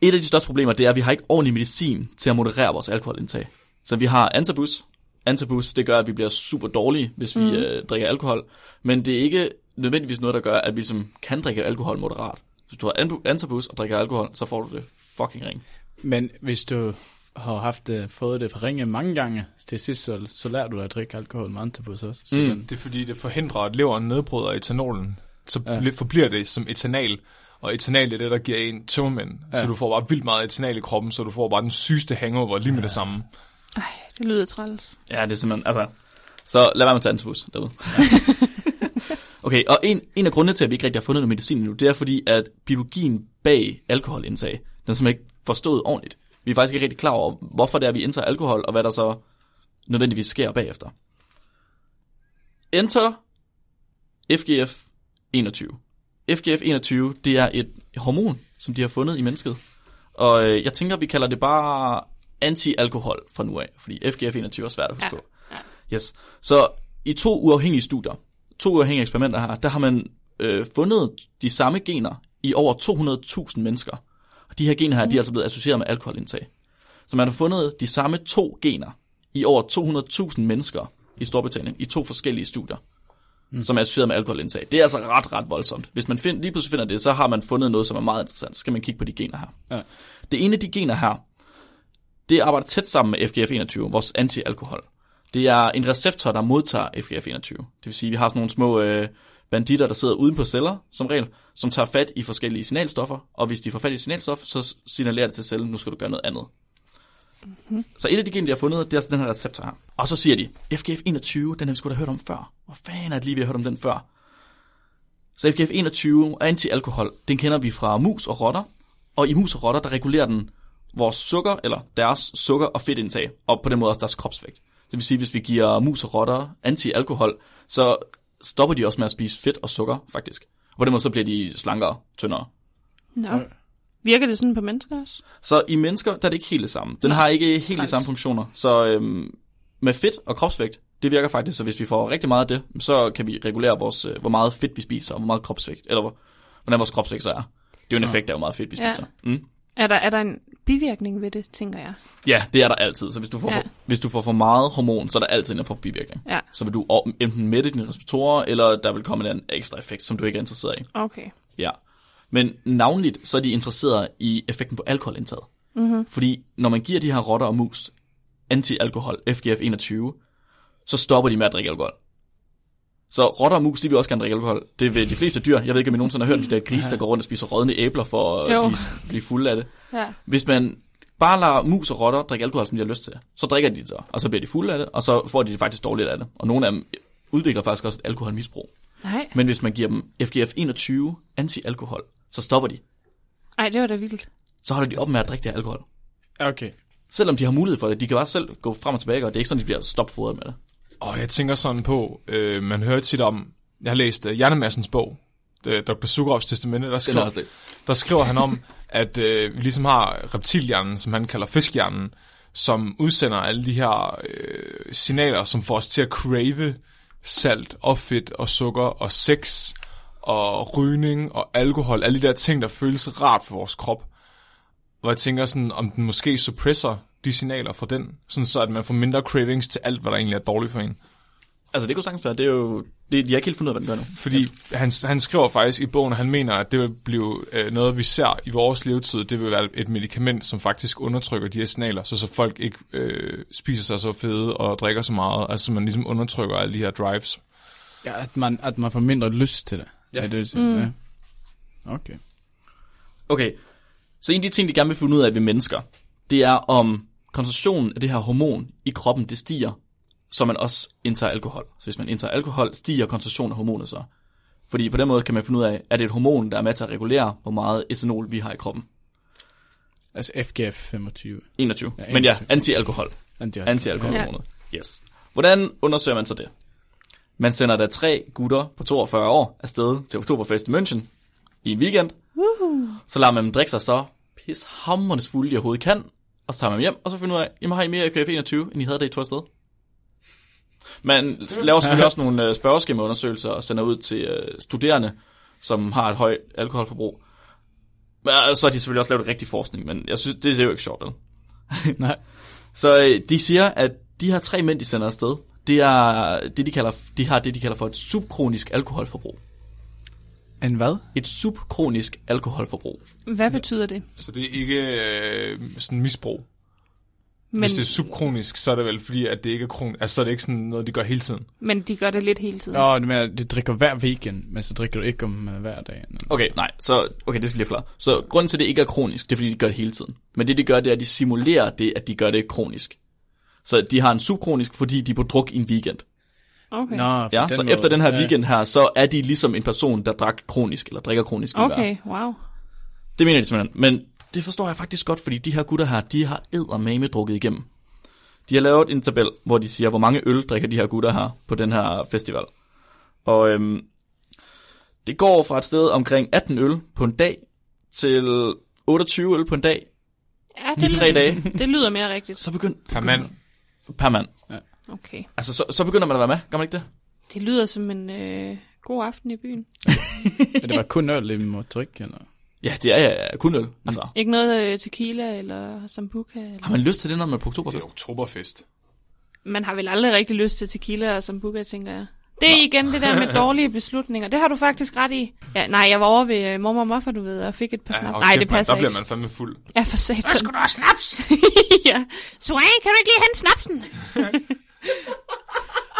Et af de største problemer, det er, at vi har ikke ordentlig medicin til at moderere vores alkoholindtag. Så vi har antabus. Antabus, det gør, at vi bliver super dårlige, hvis vi mm. øh, drikker alkohol. Men det er ikke nødvendigvis noget, der gør, at vi som kan drikke alkohol moderat. Hvis du har anbu- antabus og drikker alkohol, så får du det fucking ring.
Men hvis du har haft uh, fået det for ringe mange gange, til sidst så, så lærer du at drikke alkohol med antabus også. Så mm. den,
Det er fordi, det forhindrer, at leveren nedbryder etanolen. Så ja. forbliver det som etanal. Og etanal det er det, der giver en tømmermænd. Ja. Så du får bare vildt meget etanal i kroppen, så du får bare den sygeste hangover lige med det samme.
Ej, det lyder træls.
Ja, det er simpelthen, altså... Så lad være med at tage antabus derude. okay, og en, en af grundene til, at vi ikke rigtig har fundet noget medicin endnu, det er fordi, at biologien bag alkoholindtag, den er simpelthen ikke forstået ordentligt. Vi er faktisk ikke rigtig klar over, hvorfor det er, vi indtager alkohol, og hvad der så nødvendigvis sker bagefter. Enter FGF 21. FGF 21, det er et hormon, som de har fundet i mennesket. Og øh, jeg tænker, vi kalder det bare anti-alkohol fra nu af, fordi FGF 21 er svært at forstå.
Ja,
Yes. Så i to uafhængige studier, to uafhængige eksperimenter her, der har man øh, fundet de samme gener i over 200.000 mennesker. Og de her gener her, de er altså blevet associeret med alkoholindtag. Så man har fundet de samme to gener i over 200.000 mennesker i Storbritannien i to forskellige studier, mm. som er associeret med alkoholindtag. Det er altså ret, ret voldsomt. Hvis man find, lige pludselig finder det, så har man fundet noget, som er meget interessant. Så skal man kigge på de gener her.
Ja.
Det ene af de gener her, det arbejder tæt sammen med FGF21, vores antialkohol. Det er en receptor, der modtager FGF21. Det vil sige, at vi har sådan nogle små øh, banditter, der sidder uden på celler, som regel, som tager fat i forskellige signalstoffer, og hvis de får fat i signalstof, så signalerer det til cellen, nu skal du gøre noget andet. Så et af de gen, de har fundet, det er altså den her receptor her. Og så siger de, FGF21, den har vi sgu da hørt om før. Hvor fanden er det lige, vi har hørt om den før? Så FGF21 er antialkohol. Den kender vi fra mus og rotter. Og i mus og rotter, der regulerer den vores sukker, eller deres sukker- og fedtindtag, og på den måde også deres kropsvægt. Det vil sige, hvis vi giver mus og rotter antialkohol, så stopper de også med at spise fedt og sukker, faktisk. Og på den måde så bliver de slankere, tyndere.
Nå. Virker det sådan på mennesker også?
Så i mennesker, der er det ikke helt det samme. Den har ikke helt de samme funktioner. Så øhm, med fedt og kropsvægt, det virker faktisk, så hvis vi får rigtig meget af det, så kan vi regulere, vores, øh, hvor meget fedt vi spiser, og hvor meget kropsvægt, eller hvor, hvordan vores kropsvægt så er. Det er jo en effekt af, hvor meget fedt vi
Ja.
spiser. Ja. Mm.
Er der, er der en bivirkning ved det, tænker jeg?
ja, det er der altid. Så hvis du, får
Ja.
for, hvis du får for meget hormon, så er der altid en eller anden form for bivirkning.
Ja,
Så vil du o- enten mætte dine receptorer, eller der vil komme en eller anden ekstra effekt, som du ikke er interesseret i.
okay.
Ja. Men navnligt, så er de interesseret i effekten på alkoholindtaget. Mm-hmm. Fordi når man giver de her rotter og mus antialkohol, FGF21, så stopper de med at drikke alkohol. Så rotter og mus, de vil også gerne drikke alkohol. Det vil de fleste dyr. Jeg ved ikke, om I nogensinde har hørt de der grise, der går rundt og spiser rådne æbler for at
Jo.
blive, blive fulde af det.
Ja.
Hvis man bare lader mus og rotter drikke alkohol, som de har lyst til, så drikker de det så, og så bliver de fulde af det, og så får de det faktisk dårligt af det. Og nogle af dem udvikler faktisk også et alkoholmisbrug.
Nej,
Men hvis man giver dem FGF 21 anti-alkohol, så stopper de.
Ej, det var da vildt.
Så holder de op med at drikke det her alkohol.
Okay.
Selvom de har mulighed for det, de kan bare selv gå frem og tilbage, og det er ikke sådan, de bliver stopfodret med det.
Og jeg tænker sådan på, øh, man hører tit om, jeg har læst uh, Hjernemassens bog, øh, Dr. Sukovs testamente, der
har jeg
skriver,
også læst.
der skriver han om, at øh, vi ligesom har reptilhjernen, som han kalder fiskhjernen, som udsender alle de her øh, signaler, som får os til at crave salt og fedt og sukker og sex og rygning og alkohol, alle de der ting, der føles rart for vores krop. Hvor jeg tænker sådan, om den måske suppresser de signaler fra den, sådan så at man får mindre cravings til alt, hvad der egentlig er dårligt for en.
Altså, det kunne sagtens være. Det er jo... Det, jeg har ikke helt fundet ud af, hvad den gør nu.
Fordi han, han skriver faktisk i bogen, at han mener, at det vil blive øh, noget, vi ser i vores levetid. Det vil være et medicament, som faktisk undertrykker de her signaler, så, så folk ikke øh, spiser sig så fede og drikker så meget. Altså så man ligesom undertrykker alle de her drives.
Ja, at man, at man får mindre lyst til det. Ja. Er det, det, mm. ja. Okay.
Okay, så en af de ting, vi gerne vil finde ud af ved mennesker, det er, om koncentrationen af det her hormon i kroppen, det stiger, så man også indtager alkohol. Så hvis man indtager alkohol, stiger koncentrationen af hormonet så. Fordi på den måde kan man finde ud af, er det et hormon, der er med til at regulere, hvor meget etanol vi har i kroppen.
Altså FGF 25.
21. Ja,
Ja,
Men ja,
21.
anti-alkohol. Antialkoholhormonet. Ja. Yes. Hvordan undersøger man så det? Man sender da tre gutter på 42 år afsted til Oktoberfest i München i en weekend. Uh-huh. Så lader man dem drikke sig så pishammerende fulde, de overhovedet kan. Og så tager man dem hjem, og så finder man ud af, jamen har I E mere FKF 21, end I havde, da I tog afsted? Man laver selvfølgelig også nogle øh, spørgeskemaundersøgelser og sender ud til øh, studerende, som har et højt alkoholforbrug. Men, øh, Så har de selvfølgelig også lavet rigtig forskning, men jeg synes, det, det er jo ikke sjovt, vel?
Nej.
Så øh, de siger, at de her tre mænd, de sender afsted, det er det, de, kalder, de har det, de kalder for et subkronisk alkoholforbrug.
En hvad?
Et subkronisk alkoholforbrug.
Hvad betyder det?
Så det er ikke øh, sådan misbrug. Men...
Men,
Hvis det er subkronisk, så er det vel fordi, at det ikke er kron... altså, så er det ikke sådan noget, de gør hele tiden.
men de gør det lidt hele tiden.
Åh, oh, det med, du drikker hver weekend, men så drikker du ikke om øh, hver dag.
Okay, nej, så okay, det skal lige klare. Så grunden til, at det ikke er kronisk, det er, fordi de gør det hele tiden. Men det, de gør, det er, at de simulerer det, at de gør det kronisk. Så de har en subkronisk, fordi de er på druk i en weekend.
Okay.
Nå, på
Ja, så
måde.
efter den her
Ja.
weekend her, så er de ligesom en person, der drak kronisk, eller drikker kronisk. vil være.
Okay, wow.
Det mener de simpelthen. Men det forstår jeg faktisk godt, fordi de her gutter her, de har eddermame drukket igennem. De har lavet en tabel, hvor de siger, hvor mange øl drikker de her gutter her på den her festival. Og øhm, det går fra et sted omkring 18 øl på en dag til 28 øl på en dag,
Ja,
i
det
tre
lyder,
dage.
Det lyder mere rigtigt.
Så begynder...
Per mand.
Per mand.
Okay.
Altså, så, så begynder man at være med, gør man ikke det?
Det lyder som en øh, god aften i byen.
Ja, det var kun øl, vi må drikke, eller?
Ja, det er ja, kun øl. Altså,
Ikke noget øh, tequila eller sambuca? Eller...
har man lyst til det, når man er på oktoberfest?
oktoberfest.
man har vel aldrig rigtig lyst til tequila og sambuca, tænker jeg. Det er igen det der med dårlige beslutninger. Det har du faktisk ret i. Ja, nej, jeg var over ved øh, mormor og morfar, du ved, og fik et par ja, snap.
og
Nej,
kæft,
det
mand,
passer
Der
ikke.
bliver man fandme fuld.
Ja, for satan. Nu skal du have snaps! ja. Swag, kan du ikke lige hente snapsen?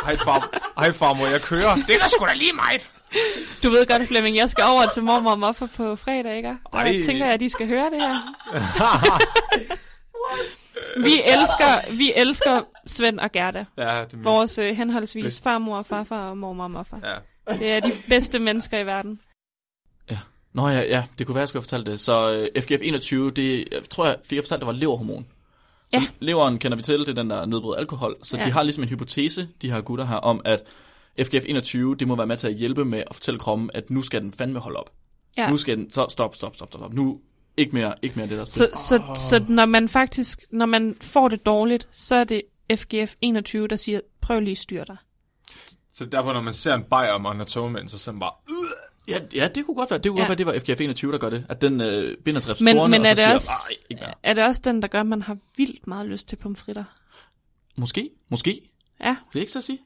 Hej far, hej far, må jeg køre? Det er da sgu da lige meget.
Du ved godt, Flemming, jeg skal over til mormor og morfar på fredag, ikke? Og
Ej.
jeg tænker, at de skal høre det her. vi elsker, vi elsker Svend og Gerda.
Ja, det er min.
Vores øh, henholdsvis farmor og farfar og mormor og morfar.
Ja.
Det er de bedste mennesker i verden.
Nå ja, ja, det kunne være, jeg skulle have fortalt det. Så øh, FGF21, det jeg tror jeg fik jeg fortalt, det var leverhormon. Så
Ja.
leveren kender vi til, det er den, der nedbryder alkohol. Så ja.
Ja.
de har ligesom en hypotese, de her gutter her, om at FGF21, det må være med til at hjælpe med at fortælle kroppen, at nu skal den fandme holde op.
Ja.
Nu skal den, så stop, stop, stop, stop, stop. Nu ikke mere, ikke mere det der spil.
Så, så, så når man faktisk når man får det dårligt, så er det FGF 21, der siger, prøv lige at styre dig.
Så derfor, når man ser en bajer og en atomand, så ser man bare... "Øh!"
Ja, ja, det kunne godt være, det kunne
Ja.
ja. godt være, det var FGF21, der gør det. At den øh, binder til
Men,
receptorerne,
men er,
og
det
så siger,
også,
"Ej, ikke mere.
er det også den, der gør, at man har vildt meget lyst til pomfritter?
Måske, måske.
Ja,
Det er ikke så at sige.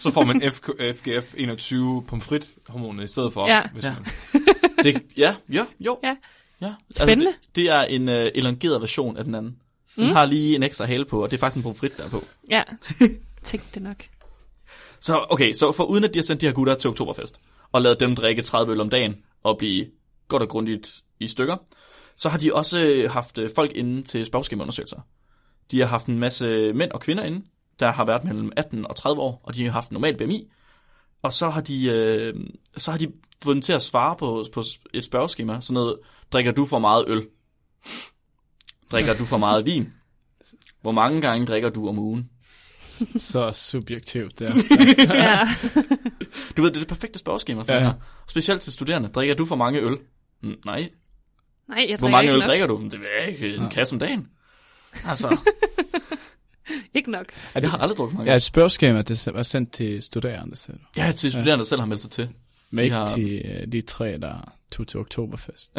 Så får man FK, FGF21 pomfrit-hormonet i stedet for.
Ja.
Hvis
Ja.
man,
Det, ja, ja, jo.
Ja.
ja.
Spændende.
Altså, det, det er en øh, elongeret version af den anden. Den mm. har lige en ekstra hale på, og det er faktisk en profrit, der er på.
ja. Tænk det nok.
Så okay, så for uden at de har sendt de her gutter til Oktoberfest, og lavet dem drikke 30 øl om dagen, og blive godt og grundigt i stykker, så har de også øh, haft øh, folk inde til spørgeskemaundersøgelser. De har haft en masse mænd og kvinder inde, der har været mellem 18 og 30 år, og de har haft en normal BMI. Og så har de, øh, så har de fået dem til at svare på, på et spørgeskema, sådan noget, drikker du for meget øl? Drikker du for meget vin? Hvor mange gange drikker du om ugen?
Så subjektivt der.
Ja.
Du ved, det er det perfekte spørgeskema. Sådan
Ja.
ja. her. Specielt til studerende. Drikker du for mange øl? Mm, nej.
Nej, jeg
Hvor
drikker
mange
ikke
øl
nok.
drikker du? "Mm, Det ved jeg ikke. En kasse om dagen. Altså,
Ikke nok.
jeg har aldrig drukket mange.
ja,
Ja,
et spørgeskema, det var sendt til studerende, sagde du.
ja til studerende, der selv har meldt sig til.
Men ikke
har-
til øh, de tre, der tog til Oktoberfest.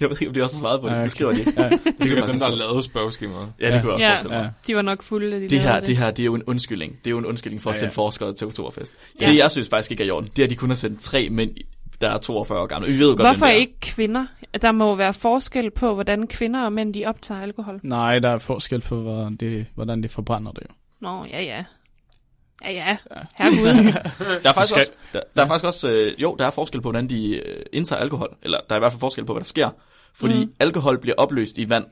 Jeg ved ikke, om de også har svaret på det.
Ja,
Det
okay.
skriver de ikke.
Ja,
det er sikkert
faktisk
dem, der har
så.
lavet spørgeskemaet.
Ja, det kunne jeg også
Ja.
forestille mig.
ja.
De var nok fulde, da de
Det her,
lavede
det her, det er jo en undskyldning. Det er jo en undskyldning for at
Ja,
sende
ja.
forskere til Oktoberfest.
Ja.
Det, jeg synes faktisk ikke er i orden, det er, at de kun har sendt tre mænd, der er 42 år gamle. Vi ved jo godt, hvem
Hvorfor
det er.
ikke kvinder? Der må jo være forskel på, hvordan kvinder og mænd, de optager alkohol.
Nej, der er forskel på, hvordan det, hvordan det forbrænder det jo.
Nå, ja, ja. Ja, ja. Herregud.
Der er faktisk også, der, der er faktisk også øh, jo, der er forskel på, hvordan de øh, indtager alkohol. Eller der er i hvert fald forskel på, hvad der sker. Fordi mm. alkohol bliver opløst i vand.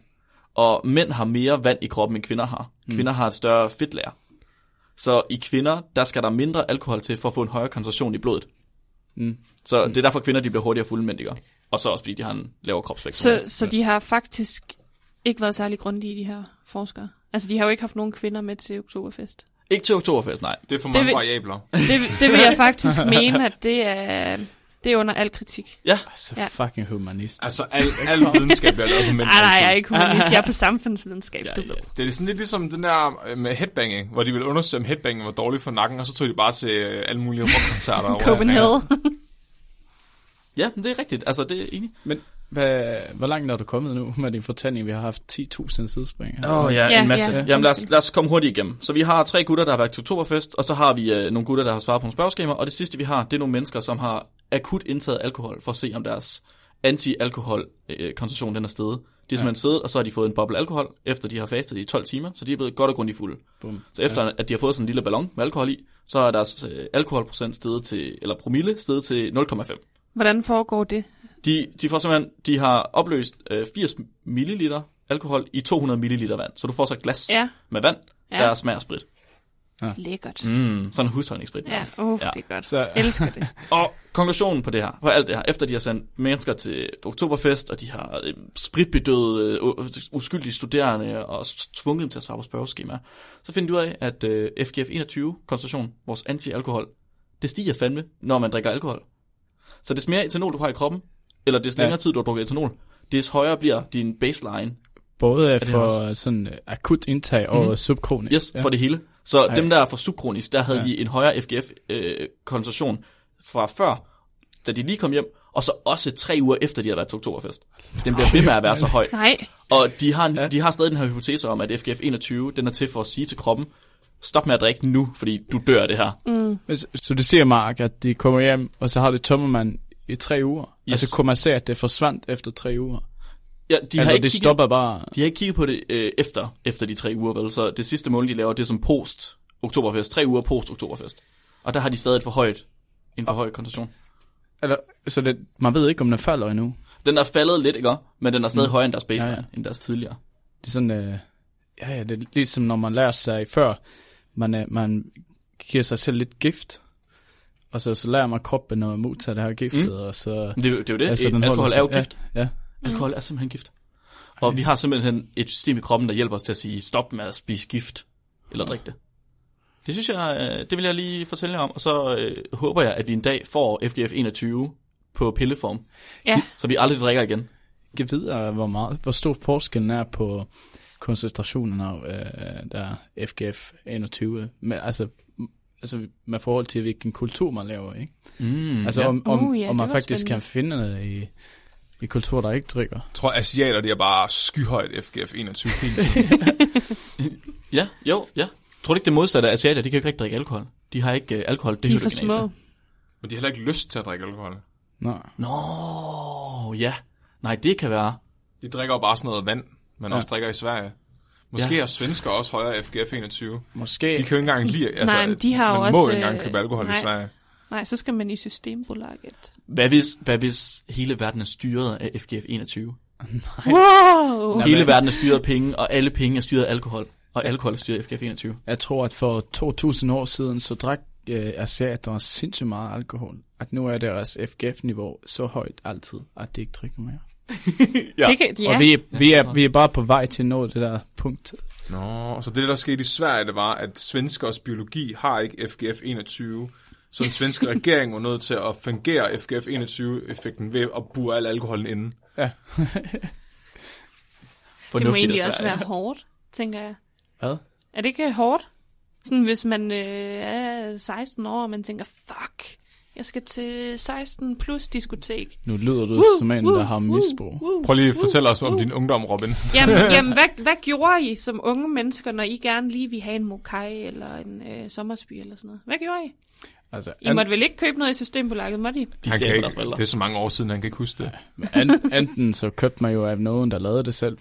Og mænd har mere vand i kroppen, end kvinder har. Kvinder har et større fedtlager. Så i kvinder, der skal der mindre alkohol til, for at få en højere koncentration i blodet.
Mm.
Så det er derfor, kvinder de bliver hurtigere fulde end mænd, de gør. Og så også, fordi de har en lavere kropsvægt.
så, så de har faktisk ikke været særlig grundige, de her forskere. Altså, de har jo ikke haft nogen kvinder med til oktoberfest.
Ikke til oktoberfest, nej.
Det er for mange
vil-
variabler.
Det, det vil jeg faktisk mene, at det er, det er under al kritik.
Ja,
Altså,
Ja.
ja. fucking humanist.
Ah,
Altså, al, al videnskab bliver lavet på mænd.
Ej,
altså-
nej, jeg er
altid.
ikke humanist. Jeg er på samfundsvidenskab, du ved.
Det er sådan lidt ligesom den der øh, med headbanging, hvor de ville undersøge, om headbanging var dårlig for nakken, og så tog de bare til øh, alle mulige rockkoncerter. over
Copenhagen.
ja men det er rigtigt. Altså, det er enig.
Men hvad, hvor langt er du kommet nu med din fortælling? Vi har haft 10.000 sidespring.
Åh oh, ja,
Ja,
en masse.
ja,
Ja, Jamen lad os,
undskyld.
lad os komme hurtigt igennem. Så vi har tre gutter, der har været til oktoberfest, og så har vi øh, nogle gutter, der har svaret på nogle spørgeskemaer, og det sidste vi har, det er nogle mennesker, som har akut indtaget alkohol, for at se om deres anti-alkohol øh, koncentration den er steget. De har simpelthen siddet, og så har de fået en boble alkohol, efter de har fastet i 12 timer, så de er blevet godt og grundigt fulde.
Bum.
Så efter ja. at de har fået sådan en lille ballon med alkohol i, så er deres øh, alkoholprocent steget til, eller promille steget til 0,5.
Hvordan foregår det?
De, de får simpelthen, de har opløst øh, 80 milliliter alkohol i 200 milliliter vand. Så du får så et glas
Ja.
med vand,
Ja.
ja. der smager af sprit.
Lækkert.
Mm, sådan en husholdningssprit.
Ja, oh,
Ja.
det er godt.
Så-
Elsker det.
Og konklusionen på det her, på alt det her, efter de har sendt mennesker til oktoberfest, og de har øh, spritbedøde, øh, uskyldige studerende, og s- tvunget dem til at svare på spørgeskemaer, så finder du ud af, at øh, FGF21, koncentration, vores anti-alkohol, det stiger fandme, når man drikker alkohol. Så des mere etanol, du har i kroppen, eller des
Ja.
længere tid, du har drukket etanol, des højere bliver din baseline
Både
det
for
også? Mhm.
sådan øh, akut indtag og mm. subkronisk.
Yes, ja. for det hele. Så
Ej.
Ej. dem, der er for subkronisk, der havde
Ja.
øh, ja. de en højere FGF-koncentration fra før, da de lige kom hjem, og så også tre uger efter, de har været til oktoberfest. Den bliver ved med at være så høj.
Nej.
Og de har, ja. de har stadig den her hypotese om, at FGF21, den er til for at sige til kroppen, stop med at drikke nu, fordi du dør af det her. Mm.
Men Så, så det siger Mark, at de kommer hjem, og så har det tømmermand i tre uger. Yes.
Yes.
Altså kommercielt, at det forsvandt efter tre uger.
Ja, de, har
altså,
ikke
det
kigget,
stopper bare.
de har ikke kigget på det øh, efter, efter de tre uger, vel? Så det sidste mål, de laver, det er som post-oktoberfest. Tre uger post-oktoberfest. Og der har de stadig et for højt, en for høj koncentration.
Eller, så det, man ved ikke, om den falder endnu.
Den er faldet lidt, ikke? Men den er stadig mm. højere end deres
Ja,
baseline, ja,
ja.
ja. end deres tidligere.
Det er sådan, øh, ja, ja, det er ligesom når man lærer sig før, man, øh, man giver sig selv lidt gift, og så, så lærer man kroppen at modtage det her giftet, mm. og så...
Det, er jo- det er jo det.
altså,
Altså, alkohol
holder
er jo
sig-
gift.
Ja, Mm. ja.
Ja. Alkohol er simpelthen gift. Og vi har simpelthen et system i kroppen, der hjælper os til at sige, stop med at spise gift, eller drikke det. Det synes jeg, øh, det vil jeg lige fortælle jer om, og så øh, håber jeg, at vi en dag får FGF 21 på pilleform,
Ja.
så vi aldrig drikker igen.
Jeg ved, hvor, meget, hvor stor forskellen er på koncentrationen af øh, der er FGF 21, men altså, m- altså med forhold til, hvilken kultur man laver, ikke?
Mm,
Altså om, om,
Uh, ja,
om
det
man
var
faktisk
spændende.
kan finde noget i, i kultur, der ikke drikker.
Jeg tror, asiater, de er bare skyhøjt FGF 21 hele tiden.
Ja, jo, ja. Tror du ikke det modsatte af asiater, de kan jo ikke rigtig drikke alkohol. De har ikke øh, alkohol, det
De er for små.
Men de har heller ikke lyst til at drikke alkohol.
Nå.
Nå, ja. Nej, det kan være.
De drikker jo bare sådan noget vand, man ja. også drikker i Sverige. Måske ja.
Ja.
har svensker også højere FGF 21.
Måske.
De kan jo ikke engang lide... Altså,
Nej, men de har
man
jo
må
også,
ikke engang
øh,
købe alkohol nej. i
nej.
Sverige.
Nej, så skal man i Systembolaget.
Hvad hvis, hvad hvis hele verden er styret af FGF 21?
Wow!
Hele verden er styret af penge, og alle penge er styret af alkohol. Og alkohol er styret af FGF 21.
Jeg tror, at for 2000 år siden, så drak øh, asiater sindssygt meget alkohol. At nu er deres FGF-niveau så højt altid, at de ikke drikker mere.
Ja. Det kan, ja.
Og vi, er- vi, er, vi er bare på vej til at nå det der punkt.
Nå, så det, der skete i Sverige, det var, at svenskers biologi har ikke FGF 21. Så den svenske regering var nødt til at fungere FGF 21-effekten ved at bure al alkoholen inden.
det må
Fornuftigt
egentlig
af
også
Sverige.
være hårdt, tænker jeg.
Hvad?
Er det ikke hårdt? Sådan hvis man øh, er 16 år, og man tænker, fuck, jeg skal til 16 plus diskotek. Uh,
Nu lyder du som en, der har misbrug.
Prøv lige at fortælle os om din ungdom, Robin.
Jamen, jamen hvad, hvad gjorde I som unge mennesker, når I gerne lige ville have en mokai eller en øh, sommersby eller sådan noget? Hvad gjorde I?
Altså,
I måtte vel ikke købe noget i Systembolaget, måtte I?
De
Han
ser
kan
for
ikke,
deres forældre.
det er så mange år siden, han kan ikke huske det.
An, enten så købte man jo af nogen, der lavede det selv.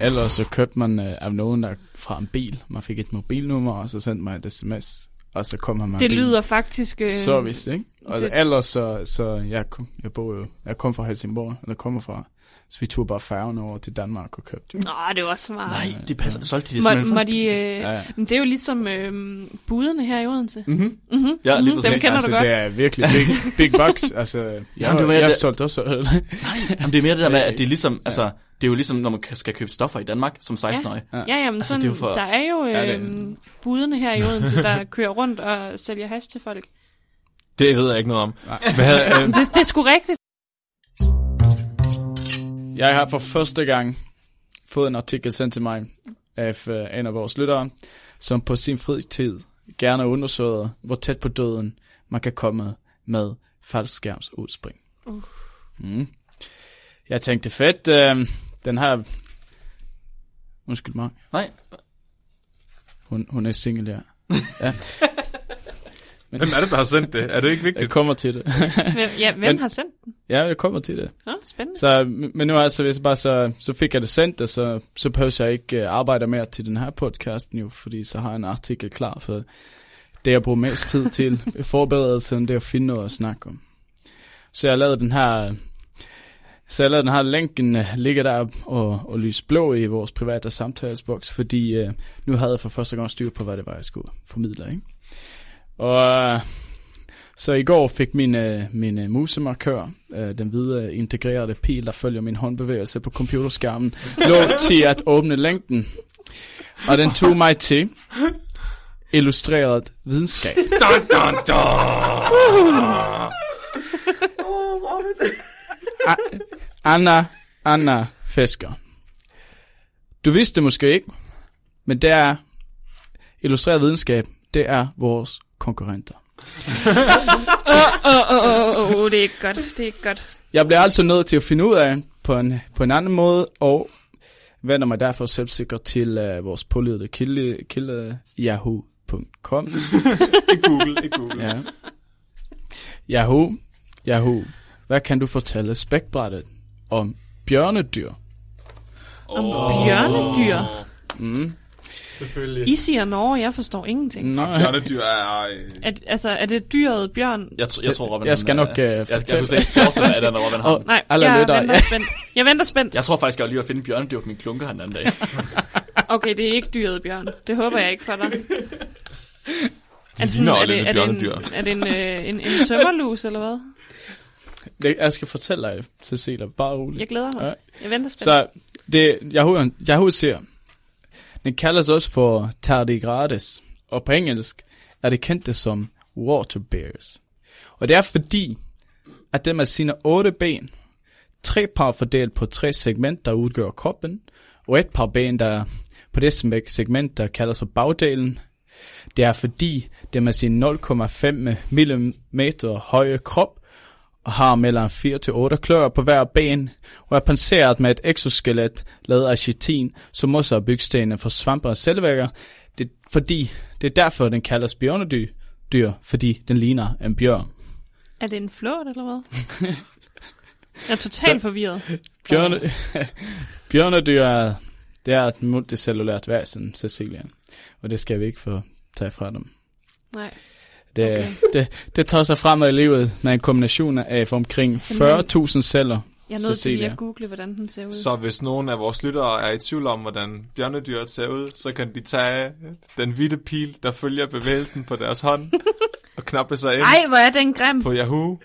Eller så købte man øh, af nogen, der fra en bil. Man fik et mobilnummer, og så sendte man et sms. Og så kom han med
Det
bilen.
lyder faktisk... Øh,
service, ikke? Og det...
det-
ellers så, så jeg, kom, jeg bor jo, jeg kom fra Helsingborg, eller kommer fra, så vi tog bare færgen over til Danmark og købte.
Nå, det var smart.
Nej, det passer. Solgte de det
Må,
simpelthen
må
for?
de, øh,
Ja,
ja,
ja.
ja. Men det er jo ligesom øh, buderne her i Odense. Mm.
Ja, lige
dem
præcis.
kender
altså,
du godt.
det er virkelig big, big bucks. Altså, jeg, Jamen,
det
det
var-
jeg, jeg
det-
solgte også øl.
Jamen, det er mere det der med, at det er ligesom, altså, det er jo ligesom, når man skal købe stoffer i Danmark som 16-årig.
Ja, jamen
Altså,
sådan,
det er
er
jo for-
der er jo øh,
Ja,
ja,
det-
budene her i Odense, der kører rundt og sælger hash til folk.
Det ved jeg ikke noget om. øh,
Det, det er sgu rigtigt.
jeg har for første gang fået en artikel sendt til mig af øh, en af vores lyttere, som på sin fritid gerne undersøger, hvor tæt på døden man kan komme med faldskærmsudspring. Uh. Mm. Jeg tænkte, fedt, øh, den her... Undskyld mig.
Nej,
Hun, hun er single, ja.
Hvem er det, der har sendt det? Er det ikke
Jeg
vigtigt?
kommer til det.
Hvem, ja, hvem
Men-
har sendt den?
ja, jeg kommer til det.
Nå, spændende. Så,
Så, men nu altså, hvis jeg bare så, så fik jeg det sendt, og så, så behøver jeg ikke uh, arbejde mere til den her podcast nu, fordi så har jeg en artikel klar for det, jeg bruger mest tid til i forberedelsen, det er at finde noget at snakke om. Så jeg lavede den her, så jeg lavede den her linken, øh, ligger der og, og lys blå i vores private samtalesboks, fordi uh, nu havde jeg for første gang styr på, hvad det var, jeg skulle formidle, ikke? Og øh, så i går fik min, øh, min øh, musemarkør, øh, den hvide øh, integrerede pil, der følger min håndbevægelse på computerskærmen, lå til at åbne længden. Og den tog mig til illustreret videnskab.
Dun, dun, dun.
Anna, Anna Fisker. Du vidste måske ikke, men det er illustreret videnskab, det er vores konkurrenter.
Åh, åh, åh, åh, åh, det er ikke godt. Det er ikke godt.
Jeg bliver altså nødt til at finde ud af på en, på en anden måde, og vender mig derfor selvsikker til uh, vores pålydede kilde, kilde yahoo.com.
Ikke Google, ikke Google.
Ja. Yahoo, Yahoo, hvad kan du fortælle spækbrættet om bjørnedyr?
Oh. Bjørnedyr.
Mm.
Selvfølgelig.
I siger Norge, jeg forstår ingenting. Mm.
Nej,
Bjørnedyr er... øh,
Er, altså, er det dyret bjørn?
Jeg, tr- jeg tror, Robin...
jeg
han,
skal
øh,
nok, øh,
jeg, jeg,
fortælle.
kunne slet ikke forestille mig, at han er Robin Ham.
Og-
Nej,
Alle
jeg
lytter,
venter
ja.
spændt. Jeg venter spændt.
Jeg tror faktisk, jeg var lige at finde bjørnedyr på min klunker han den anden dag.
Okay, det er ikke dyret bjørn. Det håber jeg ikke for dig. Er
ligner
er
også lidt
det, er
et
det en,
bjørnedyr.
er det en, øh, en, en tømmerlus, eller hvad?
det, jeg skal fortælle dig, Cecilia, bare roligt.
Jeg glæder mig.
Ja.
Jeg venter spændt.
Så det, Yahoo, Yahoo ser, den kaldes også for tardigrades, og på engelsk er det kendte som water bears. Og det er fordi, at dem af sine otte ben, tre par fordelt på tre segmenter, der udgør kroppen, og et par ben, der er på det smæk- segment, der kaldes for bagdelen, det er fordi, dem af sin 0,5 mm høje krop og har mellem 4 til 8 klør på hver ben, og er panseret med et exoskelet lavet af chitin, som også er bygstenene for svampe og selvvækker. Det, fordi, det er derfor, den kaldes bjørnedyr, dyr, fordi den ligner en bjørn.
Er det en flåt, eller hvad? Jeg er totalt forvirret.
Bjørne, bjørnedyr er, det er et multicellulært væsen, Cecilia, og det skal vi ikke få tage fra dem.
Nej.
Det, okay. det, det tager sig fremad i livet, når en kombination af omkring 40.000 celler
Jeg er nødt til lige
Cecilia.
at google, hvordan den ser ud.
Så hvis nogen af vores lyttere er i tvivl om, hvordan bjørnedyret ser ud, så kan de tage den hvide pil, der følger bevægelsen på deres hånd, og knappe sig ind
Ej, hvor er den grim.
på Yahoo.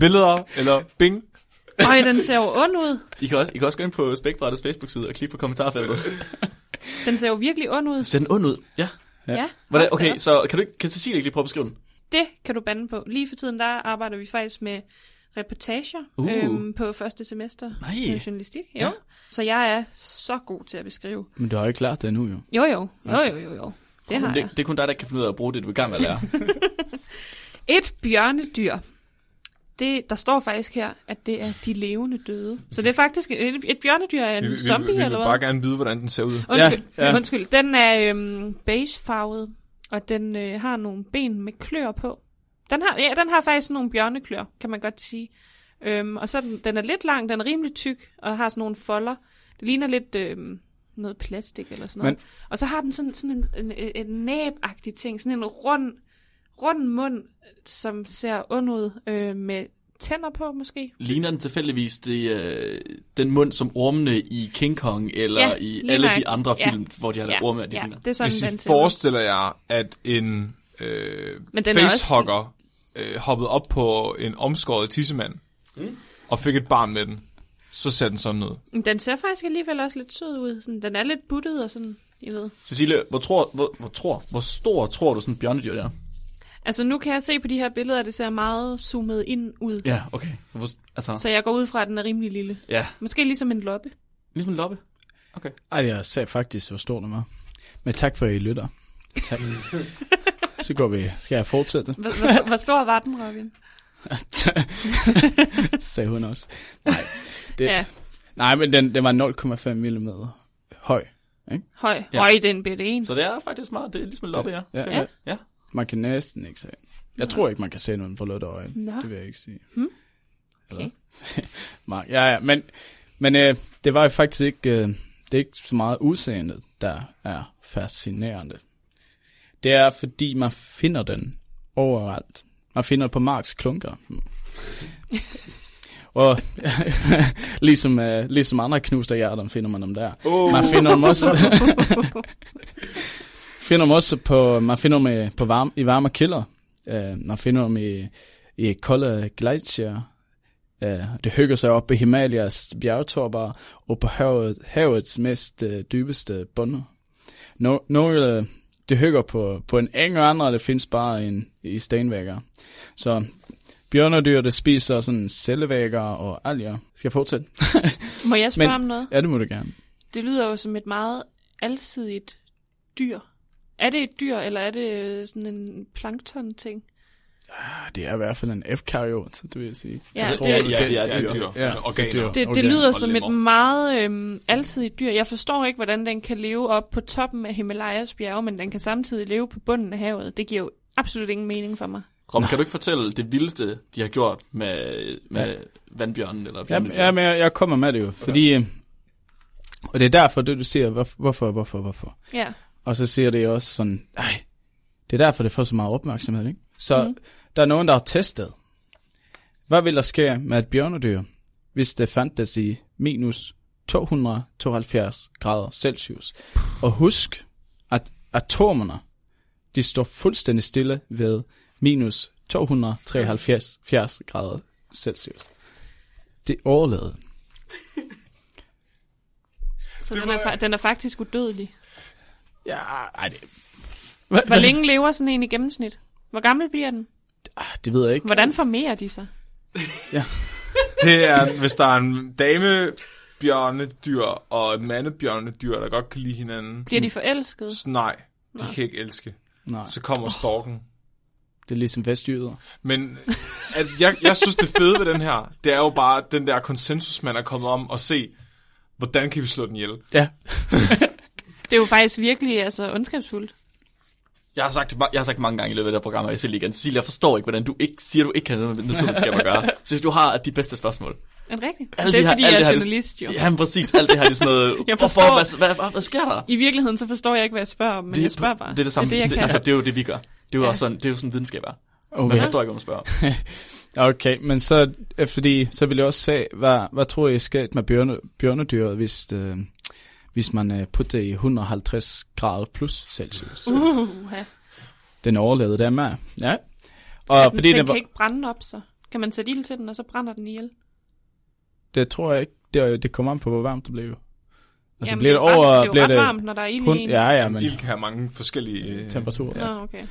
Billeder eller bing.
Øj, den ser jo ond ud.
I kan også, I kan også gå ind på Spækbrættets Facebook-side og klikke på kommentarfeltet.
Den ser jo virkelig ond ud.
Ser den ond ud? Ja.
Ja. ja.
Hvordan, okay, så kan, du, ikke- kan Cecilie ikke lige prøve at beskrive den?
Det kan du bande på. Lige for tiden, der arbejder vi faktisk med reportager øhm,
Uh.
på første semester
Nej.
i journalistik. Jo. Ja. Så jeg er så god til at beskrive.
Men du har jo ikke lært det endnu, jo.
Jo, jo. Jo, jo, jo, jo. Det har jeg.
Det, det er kun dig, der kan finde ud af at bruge det, du er i gang med at lære.
Et bjørnedyr. Det, der står faktisk her, at det er de levende døde. Så det er faktisk et, et bjørnedyr er en
Vi, vi, vi,
zombie,
vi vil
eller hvad?
bare gerne vide, hvordan den ser ud.
Undskyld,
Ja,
ja,
ja.
ja. undskyld. Den er øhm, beigefarvet, og den øh, har nogle ben med klør på. Den har, ja, den har faktisk sådan nogle bjørneklør, kan man godt sige. Øhm, og så er den, den er lidt lang, den er rimelig tyk, og har sådan nogle folder. Det ligner lidt øhm, noget plastik eller sådan noget. Men, og så har den sådan, sådan en, en, en, en næbagtig ting, sådan en rund, rund mund, som ser ond ud, øh, med tænder på måske.
Ligner den tilfældigvis det, øh, den mund, som ormene i King Kong eller
Ja,
ja, i
lige
alle de
nøjagtigt.
andre
Ja.
film, hvor de har ja, orme, at de
ja,
ligner?
det er sådan,
Hvis
den
I
ser ud.
forestiller jer, at en øh,
Men den er også-
facehugger øh, hoppede op på en omskåret tissemand og fik et barn med den, så ser den sådan ud.
Men Den ser faktisk alligevel også lidt sød ud. Sådan, den er lidt buttet og sådan, I ved.
Cecilie, hvor, tror, hvor, hvor, tror, hvor stor tror du sådan en bjørnedyr der?
Altså nu kan jeg se på de her billeder, at det ser meget zoomet ind ud.
Ja, okay. Så Hvor, altså,
Så jeg går ud fra, at den er rimelig lille.
ja,
Måske ligesom en loppe.
ligesom en loppe.
Ej, jeg sagde faktisk, hvor stor den var. Men tak for, at I lytter. Tak. Så går vi. Skal jeg fortsætte?
Hvor, hvor, hvor stor var den, Robin?
Sagde hun også. Nej, det,
Ja,
nej men den, den var 0,5 mm høj.
høj.
Ja.
Ja. Høj, den bitte en.
Så det er faktisk meget, det er ligesom en loppe, ja.
Ja,
Cirka.
ja.
ja.
Man kan næsten ikke se. Jeg tror ikke, man kan se nogen på lutter øje.
Nå.
Det vil jeg ikke sige.
Hmm.
Eller?
Okay.
Nej, ja, ja, men, men øh, det var jo faktisk ikke, øh, det er ikke så meget udseendet, der er fascinerende. Det er, fordi man finder den overalt. Man finder den på Marks klunker. Hmm. Og ligesom, øh, ligesom andre knuste hjerter, finder man dem der.
Oh.
Man finder dem også, finder dem også på, man finder dem øh, på varme, i varme kilder. Uh, man finder dem i, i kolde glacier. Uh, det hygger sig op i Himalayas bjergtopper og på havet, havets mest uh, dybeste bunder. No, nogle øh, det hygger på, på en eng, og andre det findes bare en, i stenvægger. Så bjørnedyr, der spiser sådan cellevægger og alger. Skal jeg fortsætte?
Må jeg spørge
Men-
Men... om noget?
Ja, det må du gerne.
Det lyder jo som et meget alsidigt dyr. Er det et dyr, eller er det øh, sådan en plankton-ting?
Ah, Det er i hvert fald en F-karriot, det vil jeg sige.
Ja,
jeg
Altså,
det-
at
Ja, det er- det er dyr.
Ja,
Ja, organer.
det er dyr.
Det, okay.
Organer.
det lyder
Og
som
lemmer.
et meget øhm, alsidigt dyr. Jeg forstår ikke, hvordan den kan leve op på toppen af Himalayas bjerge, men den kan samtidig leve på bunden af havet. Det giver jo absolut ingen mening for mig.
Rom, kan du ikke fortælle det vildeste, de har gjort med, med ja. vandbjørnen? Eller
Ja, men-
vandbjørnen?
ja, men jeg, jeg kommer med det jo, fordi... øh, Og det er derfor, det du siger, hvorfor, hvorfor, hvorfor, hvorfor.
Ja,
Og så siger det også sådan, nej, det er derfor, det får så meget opmærksomhed, ikke? Så mm. der er nogen, der har testet. Hvad ville der ske med et bjørnedyr, hvis det fandtes i minus 272 grader Celsius? Og husk, at atomerne, de står fuldstændig stille ved minus 273 grader Celsius. Det overlevede.
så den er, fa- den er faktisk udødelig.
Ja, ej, det...
Hvor længe lever sådan en i gennemsnit? Hvor gammel bliver den?
Ah, Det ved jeg ikke.
Hvordan formerer de sig?
Det er, hvis der er en dame bjørnedyr og et mandebjørnedyr, der godt kan lide hinanden.
Bliver de
Mm.
forelskede?
Så nej, de kan ikke elske.
Nej,
Så kommer storken.
det er ligesom vestjyder.
Men at jeg, jeg synes, det fede ved den her, det er jo bare den der konsensus, man er kommet om at se, hvordan kan vi slå den ihjel?
Ja,
Det er jo faktisk virkelig altså, ondskabsfuldt.
Jeg har, sagt, jeg har sagt mange gange i løbet af det her program, og jeg siger det igen. Cecilie, jeg forstår ikke, hvordan du ikke siger, du ikke kan noget med naturvidenskab at gøre. Synes du har de bedste spørgsmål?
Er det rigtigt?
Alle
det
de
er,
her-
fordi
alle
jeg
de
er
her-
journalist, jo.
Jamen præcis, alt det her det er sådan noget.
Jeg forstår-
hvorfor, hvad, hvad, hvad, hvad sker der?
I virkeligheden, så forstår jeg ikke, hvad jeg spørger om, men jeg spørger bare.
Det er det samme.
Det, er det, jeg kan.
altså, det er jo det, vi gør. Det er jo, også sådan, det er jo sådan, videnskab er. Man
okay.
forstår ikke, hvad man spørger. om.
Okay, men så, øh, fordi, så vil jeg også se, hvad, hvad tror I skete med bjørne, bjørnedyret, hvis, øh, hvis man øh, putter det i 150 grader plus Celsius?
uh, ja.
Den overlevede der med. Ja. Og fordi
den
den
kan
var,
ikke brænde op, så kan man sætte ild til den, og så brænder den ihjel.
det tror jeg ikke, det, det kommer an på, hvor varmt det blev. Altså
Jamen,
Jamen, bliver det
er jo varmt-
over,
det er jo
bliver
ret
det
varmt, når der er ild
kun,
i en.
ja, ja,
Men...
men
Ild kan have mange forskellige... øh,
temperaturer.
Nå, okay.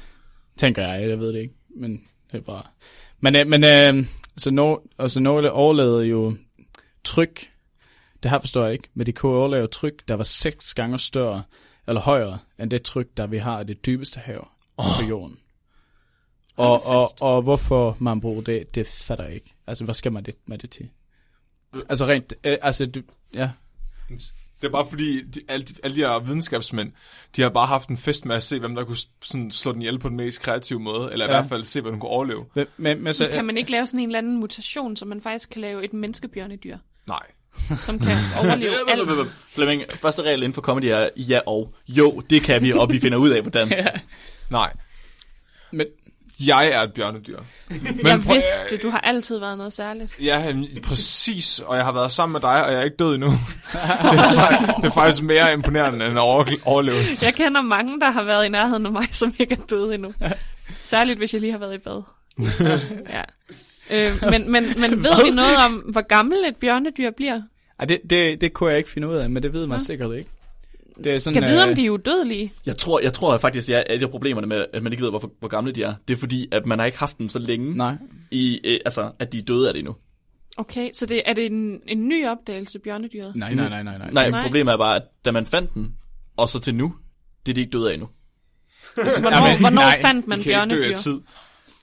Tænker jeg, jeg ved det ikke, men det er bare... Men, øh, men øh, så, no, altså, nogle overlevede jo tryk, det her forstår jeg ikke, men de kunne overleve tryk, der var seks gange større eller højere end det tryk, der vi har i det dybeste hav oh. på jorden. Og, og, og hvorfor man bruger det, det fatter jeg ikke. Altså, hvad skal man det med det til? Altså rent, øh, altså, du, ja,
Det er bare fordi, de, alle, de, alle de her videnskabsmænd, de har bare haft en fest med at se, hvem der kunne s- sådan, slå den ihjel på den mest kreative måde, eller ja. i
Ja.
hvert fald se, hvad den kunne overleve.
men, men, men så,
Så, kan man ikke lave sådan en eller anden mutation, så man faktisk kan lave et menneskebjørnedyr,
Nej.
som kan overleve alt?
Flemming, første regel inden for comedy er ja og jo, det kan vi, og vi finder ud af, hvordan.
Nej.
men,
Jeg er et bjørnedyr. Men
Jeg
prøv-
vidste, du har altid været noget særligt.
Ja, jamen, præcis, og jeg har været sammen med dig, og jeg er ikke død endnu. det, er, fa- det er faktisk mere imponerende end over, overlevelse.
Jeg kender mange, der har været i nærheden af mig, som ikke er døde endnu. Særligt, hvis jeg lige har været i bad. Ja. Øh, men, men, men ved vi noget om, hvor gammel et bjørnedyr bliver?
ej, det, det, det kunne jeg ikke finde ud af, men det ved man sikkert ikke. Det er sådan,
Kan jeg vide, om
øh,
de er udødelige?
Jeg tror, jeg tror faktisk, at et af problemerne med, at man ikke ved, hvorfor, hvor gamle de er, det er fordi, at man har ikke haft dem så længe,
Nej,
i, øh, altså, at de er døde af det endnu.
Okay, så det, er det en, en ny opdagelse, bjørnedyret?
Nej, nej, nej, nej, nej.
Nej.
Nej, Nej, problemet er bare, at da man fandt den, og så til nu, det er de ikke døde af endnu.
Hvornår,
Jamen,
hvornår
nej,
fandt man
Jeg kan ikke dø
bjørnedyr?
af tid.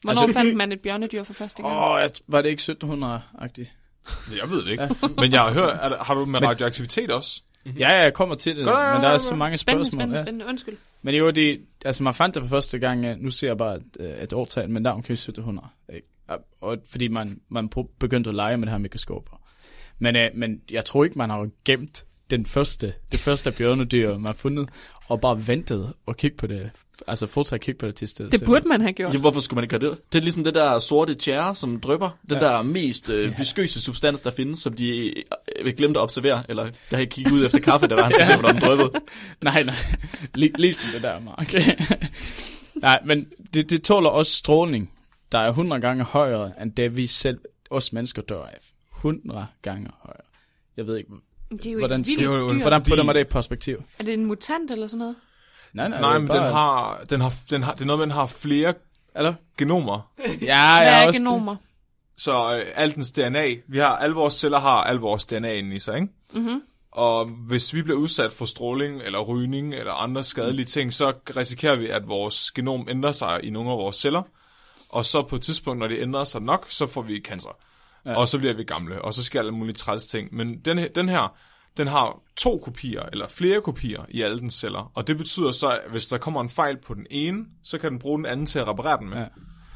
Hvornår
Altså-
fandt man et bjørnedyr for første gang?
Åh, oh, var det ikke 1700-agtigt?
Jeg ved det ikke. Men jeg har hørt, er der- har du med radioaktivitet også?
Ja, ja, jeg kommer til det,
Godt,
men der er så mange
Mhm. Spændende,
spørgsmål.
spændende,
ja.
spændende. Undskyld.
Men jo, det, altså man fandt det for første gang, øh, nu ser jeg bare et, øh, et årtal, men der er omkring 1700. Ikke? Og- Og, fordi man, man pro- begyndte at lege med det her mikroskoper. Men, øh, men jeg tror ikke, man har jo gemt den første, det første bjørnedyr, man har fundet, og bare ventet og kigge på det. Altså fortsat at kigge på det til stedet.
Det burde man have gjort.
Ja, hvorfor skulle man ikke gøre det? Det er ligesom det der sorte tjære, som drøber. Den
Ja.
ja. der mest øh, viskøse substans, der findes, som de øh, glemte at observere. Eller der har ikke kigget ud efter kaffe, der var han skulle se, hvordan den drøbede.
Nej, nej. Lig, ligesom det der, Mark. nej, men det, det tåler også stråling, der er 100 gange højere, end det vi selv, os mennesker dør af. 100 gange højere. Jeg ved ikke,
Det er jo
hvordan-
et vildt
det er jo-
dyr.
hvordan
fordi-
putter man det i perspektiv?
Er det en mutant eller sådan noget?
Nej, nej, det
Nej,
er
men
bare-
den har, den har, den har, det er noget, med, den har flere
Eller?
genomer.
Ja,
Hvad
jeg
er
også
genomer?
Så øh, alt dens DNA, vi har, alle vores celler har al vores DNA inde i sig, ikke? Mm-hmm. Og hvis vi bliver udsat for stråling eller rygning eller andre
Mm.
skadelige ting, så risikerer vi, at vores genom ændrer sig i nogle af vores celler. Og så på et tidspunkt, når det ændrer sig nok, så får vi cancer. Ja. Og så bliver vi gamle, og så sker alle mulige træls ting. Men den, her- den her, den har to kopier, eller flere kopier i alle dens celler. Og det betyder så, at hvis der kommer en fejl på den ene, så kan den bruge den anden til at reparere den med.
Ja.
Ja.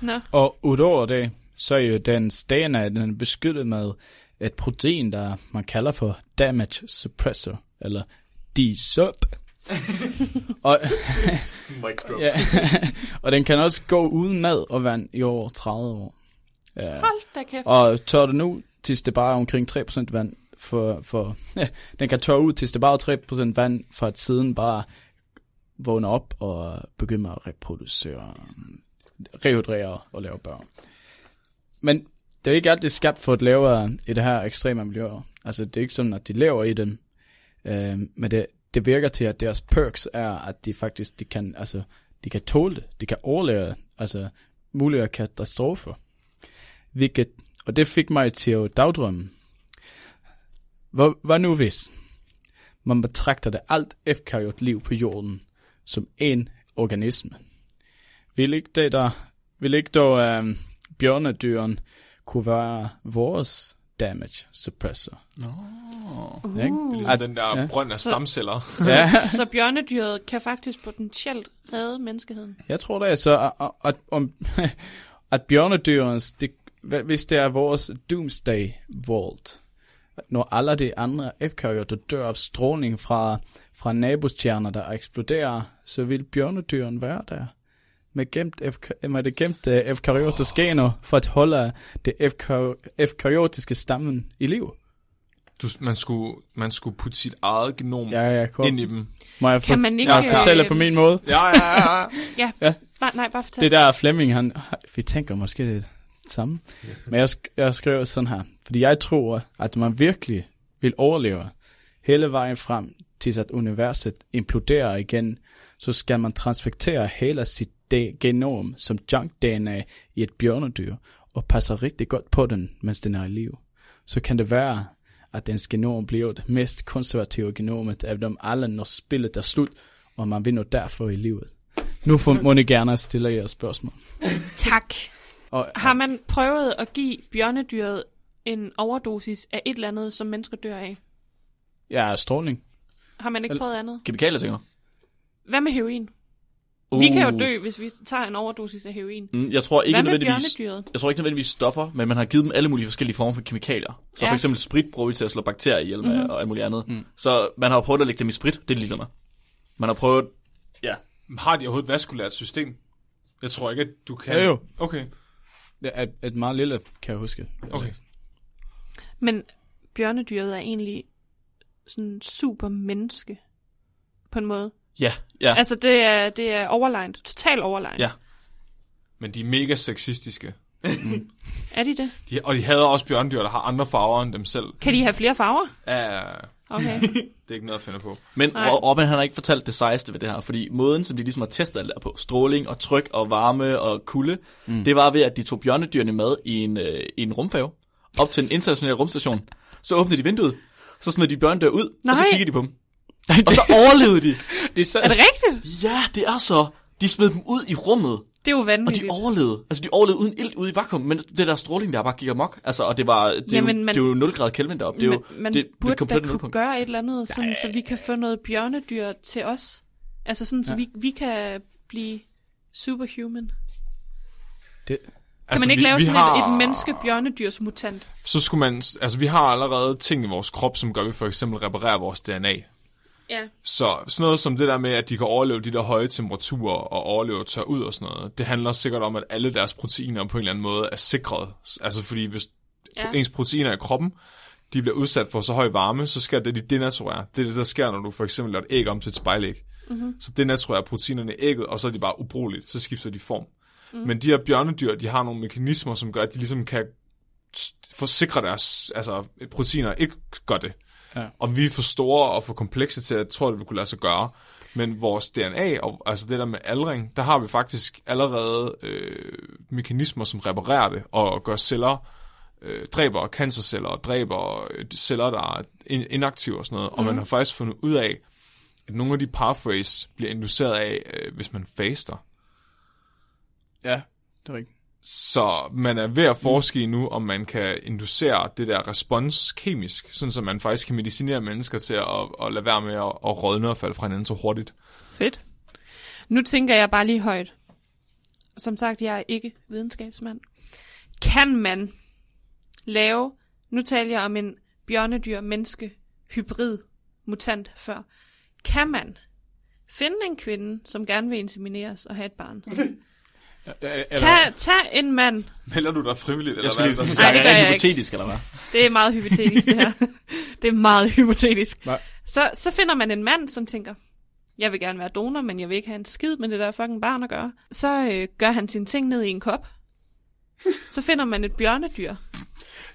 Nå.
Og udover det, så er jo dens DNA den er beskyttet med et protein, der man kalder for damage suppressor, eller DSUP. og, ja, og den kan også gå uden mad og vand i over 30 år. Ja.
Hold da kæft.
Og tør det nu, til det bare er omkring 3% vand. For, for ja, den kan tørre ud, til det bare er 3% vand, for at siden bare vågne op og begynde at reproducere, rehydrere og lave børn. Men det er ikke alt, det er skabt for at lave i det her ekstreme miljø. Altså, det er ikke sådan, at de lever i dem. Øh, men det, det virker til, at deres perks er, at de faktisk de kan, altså, de kan tåle det. De kan overleve altså, mulige katastrofer. Hvilket, og det fik mig til at dagdrømme. Hvad, hvad nu hvis man betragter det alt efterkarriot liv på jorden som en organisme? Vil ikke det der, vil ikke dog øh, bjørnedyren kunne være vores damage suppressor?
Uh.
ikke?
Det er
Så,
ligesom den der
Ja.
ja. brønd af stamceller.
Ja.
så bjørnedyret kan faktisk potentielt redde menneskeheden.
Jeg tror da så, at, at, om, at bjørnedyrens, det, hva- hvis det er vores doomsday vault, når alle de andre efkarioter dør af stråling fra, fra nabostjerner, der eksploderer, så vil bjørnedyren være der. Med, gemt FK, med det gemte efkariotiske gener for at holde det efkariotiske stammen i liv.
Du, man, skulle, man skulle putte sit eget genom
Ja, ja, kom.
ind i dem.
Må jeg,
Kan man ikke...
jeg fortælle
øh,
på min måde?
Ja, ja, ja. ja.
Ja.
Ja.
ja. Nej, nej, bare fortæl.
Det der Flemming, han, vi tænker måske det samme. Men jeg, sk- jeg skrev sådan her, fordi jeg tror, at man virkelig vil overleve hele vejen frem til, at universet imploderer igen, så skal man transfektere hele sit de- genom som junk-DNA i et bjørnedyr, og passer rigtig godt på den, mens den er i live. Så kan det være, at dens genom bliver det mest konservative genomet af dem alle, når spillet er slut, og man vinder derfor i livet. Nu får må I gerne stille jer spørgsmål.
Tak.
Og,
Har man prøvet at give bjørnedyret en overdosis af et eller andet, som mennesker dør af?
ja, stråling.
Har man ikke
Eller-
prøvet andet?
Kemikalier, tænker du?
Hvad med heroin?
uh.
Vi kan jo dø, hvis vi tager en overdosis af heroin.
Mm, Jeg tror ikke
Hvad med
nødvendigvis...
bjørnedyret?
Jeg tror ikke nødvendigvis stoffer, men man har givet dem alle mulige forskellige former for kemikalier. Så
Ja.
ja. for eksempel sprit bruger vi til at slå bakterier ihjel med mm-hmm. og alt muligt andet. Mm. Så man har jo prøvet at lægge dem i sprit, det ligeglad med. Man har prøvet... Ja,
Har de overhovedet vaskulært system? Jeg tror ikke, at du kan.
Jo, jo.
Okay.
Det er et- et meget lille, kan jeg huske.
Okay.
Men bjørnedyret er egentlig sådan super menneske på en måde.
ja, ja.
Ja. Altså, det er, det er overlegnet. Total overlegnet.
Ja.
Men de er mega sexistiske.
Er de det?
De, og de hader også bjørndyr, der har andre farver end dem selv.
Kan de have flere farver?
Ja,
Okay.
det er ikke noget at finde på.
Men
Nej.
Ro- Robin han har ikke fortalt det sejeste ved det her, fordi måden, som de ligesom har testet alt det her på, stråling og tryk og varme og kulde, mm. det var ved, at de tog bjørnedyrene med i en, øh, i en rumfærge op til en international rumstation. Så åbnede de vinduet, så smed de bjørnedyr ud, og så
Nej.
kiggede de på dem. Og så overlevede de.
Det så...
er det rigtigt?
Ja, det er så. De smed dem ud i rummet,
Det er jo
og de
vanvittigt.
overlevede. Altså, de overlevede uden ilt ude i vakuum, men det der stråling der bare gik amok. Altså, og det var, det, er
Jamen,
jo,
man-
det er jo 0 grader Kelvin deroppe. Det er jo
man, man
det, det
burde
er komplet
da kunne
nulpunkt.
gøre et eller andet, sådan, så vi kan få noget bjørnedyr til os. Altså sådan, så
Ja.
vi, vi kan blive superhuman. Kan
det.
Altså,
man ikke
Altså, vi,
lave
vi
sådan
har,
et, et menneske-bjørnedyrsmutant?
Så skulle man, altså vi har allerede ting i vores krop, som gør, at vi for eksempel reparerer vores DNA.
Ja.
Så sådan noget som det der med, at de kan overleve de der høje temperaturer og overleve tør ud og sådan noget, det handler sikkert om, at alle deres proteiner på en eller anden måde er sikret. Altså fordi hvis
Ja.
ja. ens proteiner i kroppen, de bliver udsat for så høj varme, så sker det, de denaturerer. Det er det, der sker, når du for eksempel laver et æg om til et spejlæg. Mm-hmm. Så denaturerer proteinerne i ægget, og så er de bare ubrugeligt. Så skifter de form. Mm. Men de her bjørnedyr, de har nogle mekanismer, som gør, at de ligesom kan s- forsikre deres altså, proteiner ikke gør det.
Ja.
Og vi er for store og for komplekse til, at jeg tror, det vil kunne lade sig gøre. Men vores DNA, og altså det der med aldring, der har vi faktisk allerede øh, mekanismer, som reparerer det og gør celler øh, dræber cancerceller og dræber øh, celler, der er in- inaktive og sådan noget. Mm. Og man har faktisk fundet ud af, at nogle af de pathways bliver induceret af, øh, hvis man faster.
Ja, det er rigtigt.
Så man er
Mm.
ved at forske i nu, om man kan inducere det der respons kemisk, sådan så man faktisk kan medicinere mennesker til at, at lade være med at, at rådne og falde fra hinanden så hurtigt.
Fedt. Nu tænker jeg bare lige højt. Som sagt, jeg er ikke videnskabsmand. Kan man lave, nu taler jeg om en bjørnedyr-menneske-hybrid mutant før, kan man finde en kvinde, som gerne vil insemineres og have et barn? Tag, tag en mand.
Melder du dig frivilligt, eller
Jeg skulle lige
hvad?
sige,
Nej, det
snakker
gør
jeg
jeg ikke.
hypotetisk, eller hvad?
Det er meget hypotetisk, det her. Det er meget hypotetisk.
Nej.
Så, så finder man en mand, som tænker, jeg vil gerne være donor, men jeg vil ikke have en skid med det der fucking barn at gøre. Så øh, gør han sine ting ned i en kop. Så finder man et bjørnedyr.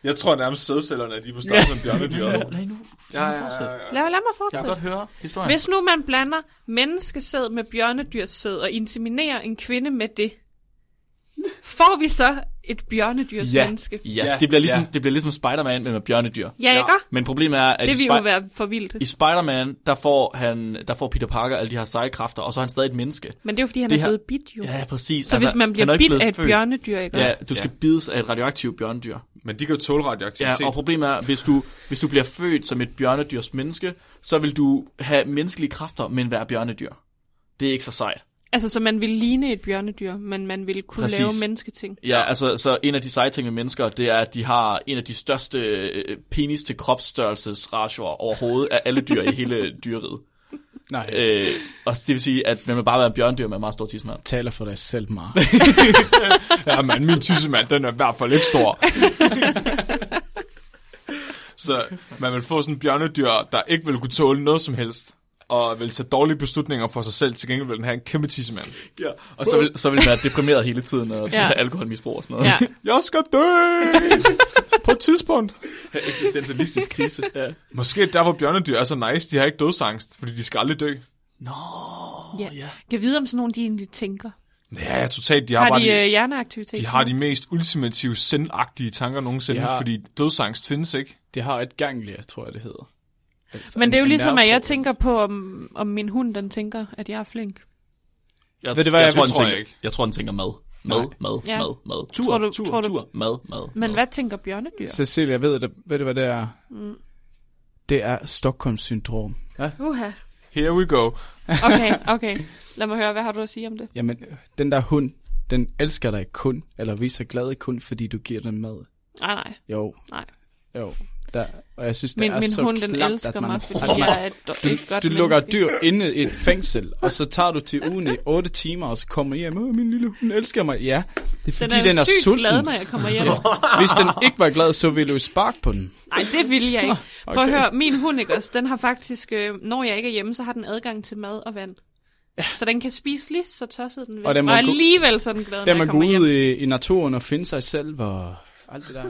Jeg tror nærmest sædcellerne, at de er på størrelse med bjørnedyr.
Lad nu,
Ja, ja, ja,
fortsætte.
ja.
Lad, lad mig
Jeg kan godt
fortsætte.
høre historien.
Hvis nu man blander menneskesæd med bjørnedyrssæd og inseminerer en kvinde med det, får vi så et bjørnedyrs
ja,
menneske?
ja,
Ja,
det bliver ligesom,
ja.
det bliver ligesom Spider-Man men med bjørnedyr.
Ja, ikke?
Men problemet er, at
Det
i,
vil jo
Spi-
være for vildt.
i Spider-Man, der får, han, der får Peter Parker alle de her seje kræfter, og så er han stadig et menneske.
Men det er jo, fordi han
det
er
her-
blevet bidt jo.
Ja, præcis. Altså,
Så hvis man
han er
bliver
ikke
bidt
blevet
af et
født.
bjørnedyr, ikke?
Ja, du skal
Ja.
ja. bides af et radioaktivt bjørnedyr.
Men de kan jo tåle radioaktivitet.
Ja, og problemet er, hvis du, hvis du bliver født som et bjørnedyrs menneske, så vil du have menneskelige kræfter, men være bjørnedyr. Det er ikke så sejt.
Altså, så man ville ligne et bjørnedyr, men man ville kunne Præcis.
Præcis.
lave mennesketing.
Ja, altså, så en af de seje ting med mennesker, det er, at de har en af de største øh, penis til kropsstørrelsesratioer overhovedet af alle dyr i hele dyreriget.
Nej, øh.
Øh, og det vil sige, at man vil bare være en bjørndyr med en meget stor tidsmand.
taler for dig selv, Mar.
Ja, men min tissemand, den er i hvert fald ikke stor. så man vil få sådan en bjørnedyr, der ikke vil kunne tåle noget som helst, og vil tage dårlige beslutninger for sig selv. Til gengæld vil den have en kæmpe tissemand.
Ja. Og så vil, så vil man være deprimeret hele tiden, og
Ja.
ja. alkoholmisbrug og sådan noget.
Ja.
Jeg skal dø! på et tidspunkt.
Eksistentialistisk krise. Ja.
Måske er det derfor bjørnedyr er så nice, de har ikke dødsangst, fordi de skal aldrig dø.
ja. ja. Kan vide, om sådan nogle de egentlig tænker.
Ja, totalt. De har,
Har
bare
de
de,
øh, hjerneaktivitet?
de, har de mest ultimative sendagtige tanker nogensinde,
De har-
fordi dødsangst findes ikke.
Det har et ganglia, tror jeg, det hedder. Altså,
Men det er jo
en- en
ligesom, at jeg
nervefrekvens.
tænker på, om, om min hund, den tænker, at jeg er flink.
Jeg,
Ved du hvad,
jeg,
det
tror, den
tror jeg
tænker,
ikke.
jeg tror, den tænker mad. Mad, mad,
Ja.
mad, mad. Tur,
Tror du-
tur,
tror du-
tur, mad, mad.
Men
mad.
hvad tænker bjørnedyr?
Cecilia, ved du, ved du hvad det er? Mm. Det er Stockholm-syndrom.
Uha.
Here we go.
Okay, okay. Lad mig høre, hvad har du at sige om det?
Jamen, øh, den der hund, den elsker dig kun, eller viser glad kun, fordi du giver den mad.
Nej, nej.
Jo,
nej.
jo. Der, og jeg synes, det
Min,
er
min
så
hund, den
klamt,
elsker
at man,
mig, fordi
at man-
jeg er et, do-
du,
et godt
du lukker
menneske.
dyr inde i et fængsel, og så tager du til ugen i 8 timer, og så kommer I hjem, Åh, min lille hund elsker mig. Ja, det er
Den
fordi,
er,
den er, den er
sygt
sulten.
glad, når jeg kommer hjem.
Hvis den ikke var glad, så ville du sparke på den.
Nej, det vil jeg ikke. Prøv at
Okay.
høre, min hund, ikke også, den har faktisk, øh, når jeg ikke er hjemme, så har den adgang til mad og vand. Så den kan spise lige så tosset den vil. Og,
Og den må
og
gå-
alligevel så er den glad, når
Der
jeg
man går
kommer hjem.
ud i, i naturen og finder sig selv og alt det der.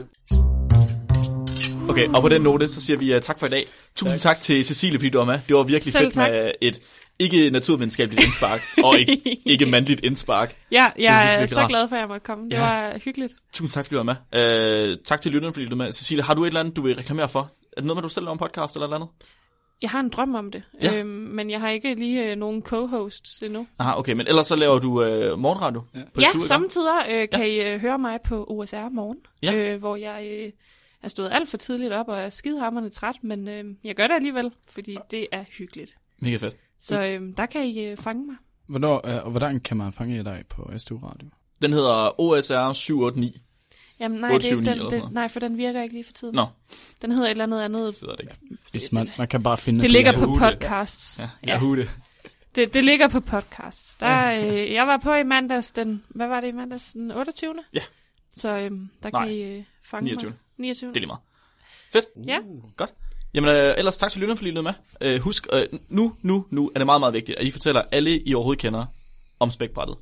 Okay, og på den note, så siger vi uh, tak for i dag. Tusind tak, tak til Cecilie, fordi du var med. Det var virkelig
Selv
fedt med øh, et ikke naturvidenskabeligt indspark, og et ikke mandligt indspark.
Ja,
Det er
jeg er
virkelig
så
rart.
glad for, at jeg måtte komme. Det
Ja.
var hyggeligt.
Tusind tak, fordi du var med. Uh, tak til lytterne, fordi du var med. Cecilie, har du et eller andet, du vil reklamere for? Er det noget med, du selv laver en podcast eller et eller andet?
Jeg har en drøm om det,
Ja.
øhm, men jeg har ikke lige øh, nogen co-hosts endnu.
Ah, okay, men ellers så laver du øh, morgenradio. Ja, på
ja,
Studio.
samtidig øh, kan I øh, høre mig på OSR morgen,
Ja.
øh, hvor jeg øh, er stået alt for tidligt op og er skidehammerende træt, men øh, jeg gør det alligevel, fordi det er hyggeligt.
Mega fedt.
Så øh, der kan I øh, fange mig.
Hvornår, øh, og hvordan kan man fange dig på SDU Radio?
Den hedder OSR 789.
Jamen nej, det er
879
ikke
eller
den,
sådan
den,
noget.
nej, for den virker ikke lige for tiden.
Nå,
Den hedder et eller andet andet.
det hedder det ikke.
Hvis man, man kan bare finde
Det ligger
på
på
Yahoo, det.
podcasts. Ja.
Ja. Yahoo det.
Det, det ligger på podcasts. Der, øh, jeg var på i mandags den, hvad var det i mandags, den 28.
Ja.
Så øhm, der
Nej,
kan I øh, fange
29..
mig. 29.
Det er lige meget. Fedt.
Ja,
Godt. Jamen, øh, ellers tak til lytterne, fordi I lyttede med. Øh, husk, øh, nu, nu, nu er det meget, meget vigtigt, at I fortæller alle, I overhovedet kender om spækbrættet.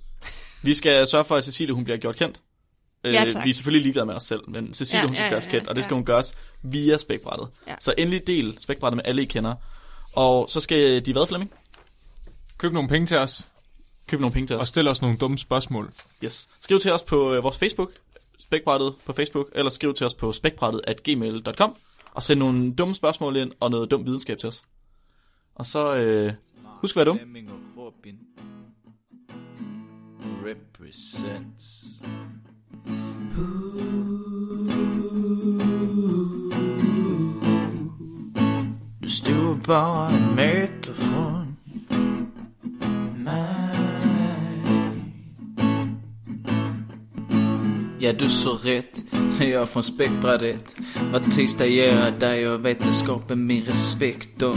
Vi skal sørge for, at Cecilie, hun bliver gjort kendt. Øh,
Ja, tak.
vi er selvfølgelig ligeglade med os selv, men Cecilie,
Ja,
ja, hun skal
ja,
ja, gøres
ja,
kendt, og det
ja.
skal hun gøres via spækbrættet.
Ja.
Ja. Så endelig del spækbrættet med alle, I kender. Og så skal de hvad, Flemming?
Køb nogle penge til os,
Købe nogle penge til os.
og stil os nogle dumme spørgsmål.
Yes. Skriv til os på øh, vores Facebook, spækbrættet på Facebook, eller skriv til os på spækbrættet at gmail.com, og send nogle dumme spørgsmål ind, og noget dum videnskab til os. Og så øh, husk at være dum.
Flemming og Robin represents. Du støver bare en meter fra mig Ja, du så rätt. Jag är från spektrat Vad tisdag gör jag där jag vetenskapen min respekt och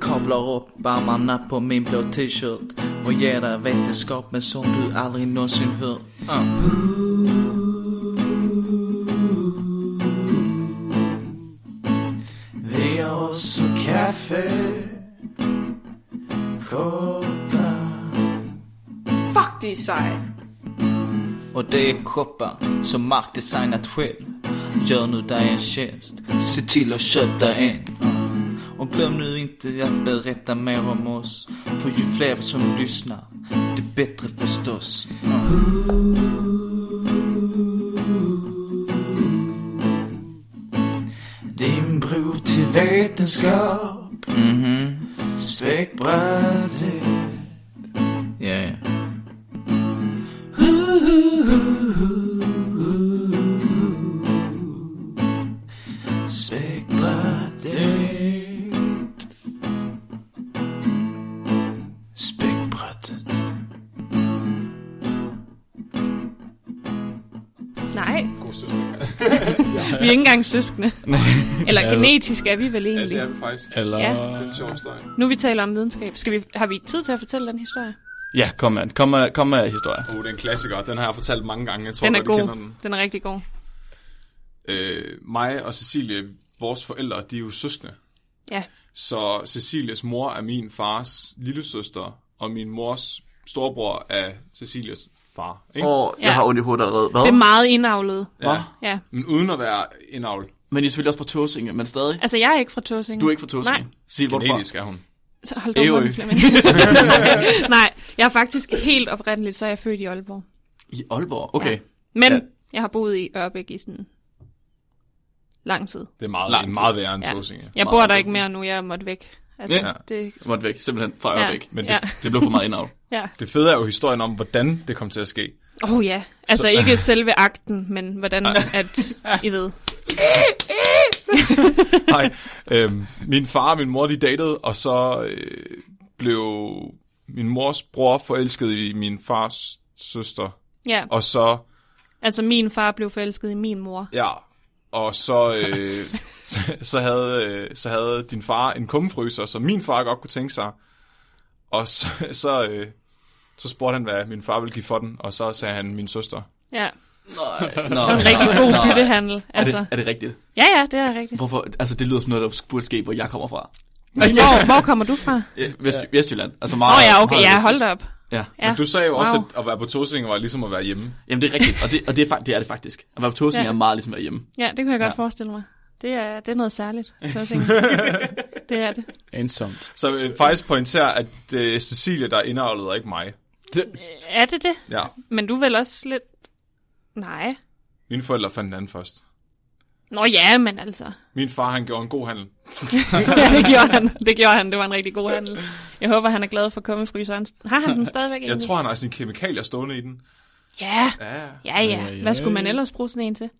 Kablar upp armarna på min blå t-shirt och ger dig vetenskapen som du aldrig någonsin hört. Uh. Vi har oss och kaffe, koppar
Fuck, de er seje.
Och det är koppar som Mark designat själv Gör nu dig en tjänst, se till att köpa en Och glöm nu inte att berätta mer om oss För ju fler som lyssnar, det bättre förstås Din bro till vetenskap, mhm, späckbrädet Ja, ja Spækbrættet. Spækbrættet.
Nej,
God søster.
vi er ikke engang søskende. Eller genetisk er vi vel
Ja, det
egentlig.
er vi faktisk. Det
Eller...
Ja.
er en sjov støj.
Nu vi taler om videnskab. Skal vi, har vi tid til at fortælle den historie?
Ja, kom med, kom med, kom med historier.
Oh, det er en klassiker. Den har jeg fortalt mange gange. Jeg tror,
Den er
godt, I
god.
kender den.
Den er rigtig god.
Øh, mig og Cecilie, vores forældre, de er jo søskende.
Ja,
Så Cecilies mor er min fars lille søster, og min mors storebror er Cecilies far. Ikke?
Åh,
Ja.
ondt i hovedet allerede.
det
Hvad?
er meget indavlet.
Ja.
Ja.
Men uden at være en avl.
Men I er selvfølgelig også fra Tåsinge, men stadig.
Altså, jeg er ikke fra Tåsinge.
Du er ikke fra Tåsinge.
Nej.
Sig, hvorfor?
Genetisk er hun.
Så Hold da
Ærø.
munden, Flemming. Nej, jeg er faktisk helt oprindeligt, så er jeg født i Aalborg.
I Aalborg? Okay.
Ja. Men
Ja.
ja. jeg har boet i Ørbæk i sådan lang tid.
Det er meget,
Langt.
meget værre end
Ja.
ja. Tåsinge.
Jeg
Meget
bor der
lang
ikke
tid.
mere nu, jeg måtte væk. Altså,
Ja.
det,
Jeg måtte væk, simpelthen fra
Ja.
Ørbæk.
Men det,
Ja.
Det blev for meget indavl.
ja.
det fede er jo historien om, hvordan det kom til at ske.
Åh oh, ja, altså så... ikke selve akten, men hvordan at, I ved.
Nej, øhm, min far og min mor, de datede, og så øh, blev min mors bror forelsket i min fars søster.
Ja,
Og så,
altså min far blev forelsket i min mor.
ja, og så, øh, så, så, havde, øh, så havde din far en kummefryser, som min far godt kunne tænke sig. Og så, så, øh, så spurgte han, hvad min far ville give for den, og så sagde han, min søster.
Ja,
Nej, nej,
det var en rigtig god byttehandel.
Er det,
Altså.
er det rigtigt?
Ja, ja, det er rigtigt.
Hvorfor? Altså, det lyder som noget, der burde ske, hvor jeg kommer fra. Altså,
Hvor, hvor kommer du fra?
Øh, Vest, Vestjylland. Altså
Åh
meget,
oh, ja, okay,
meget
ja,
vestjysk.
hold da op.
Ja.
Ja.
Men du sagde jo også,
Wow.
at at være på Tåsinge var ligesom at være hjemme.
Jamen, det er rigtigt, og det, og det, er, fak- det er det faktisk. At være på Tåsinge
Ja.
er meget ligesom at være hjemme.
Ja, det kunne jeg godt
Ja.
ja. forestille mig. Det er, det er noget særligt, så at sige. Det er det.
Ensomt.
Så øh, faktisk pointerer, at øh, Cecilie, der er indavlet, og ikke mig.
Er det det?
Ja,
Men du er vel også lidt... Nej.
mine forældre fandt hinanden først.
Nå ja, men altså.
Min far, han gjorde en god handel.
Ja, det gjorde han. Det gjorde han. Det var en rigtig god handel. Jeg håber, han er glad for kummefryseren. Har han den stadigvæk
Jeg
egentlig?
tror, han har sine kemikalier stående i den.
Ja.
Ja,
Ja, ja. Hvad skulle man ellers bruge sådan en til?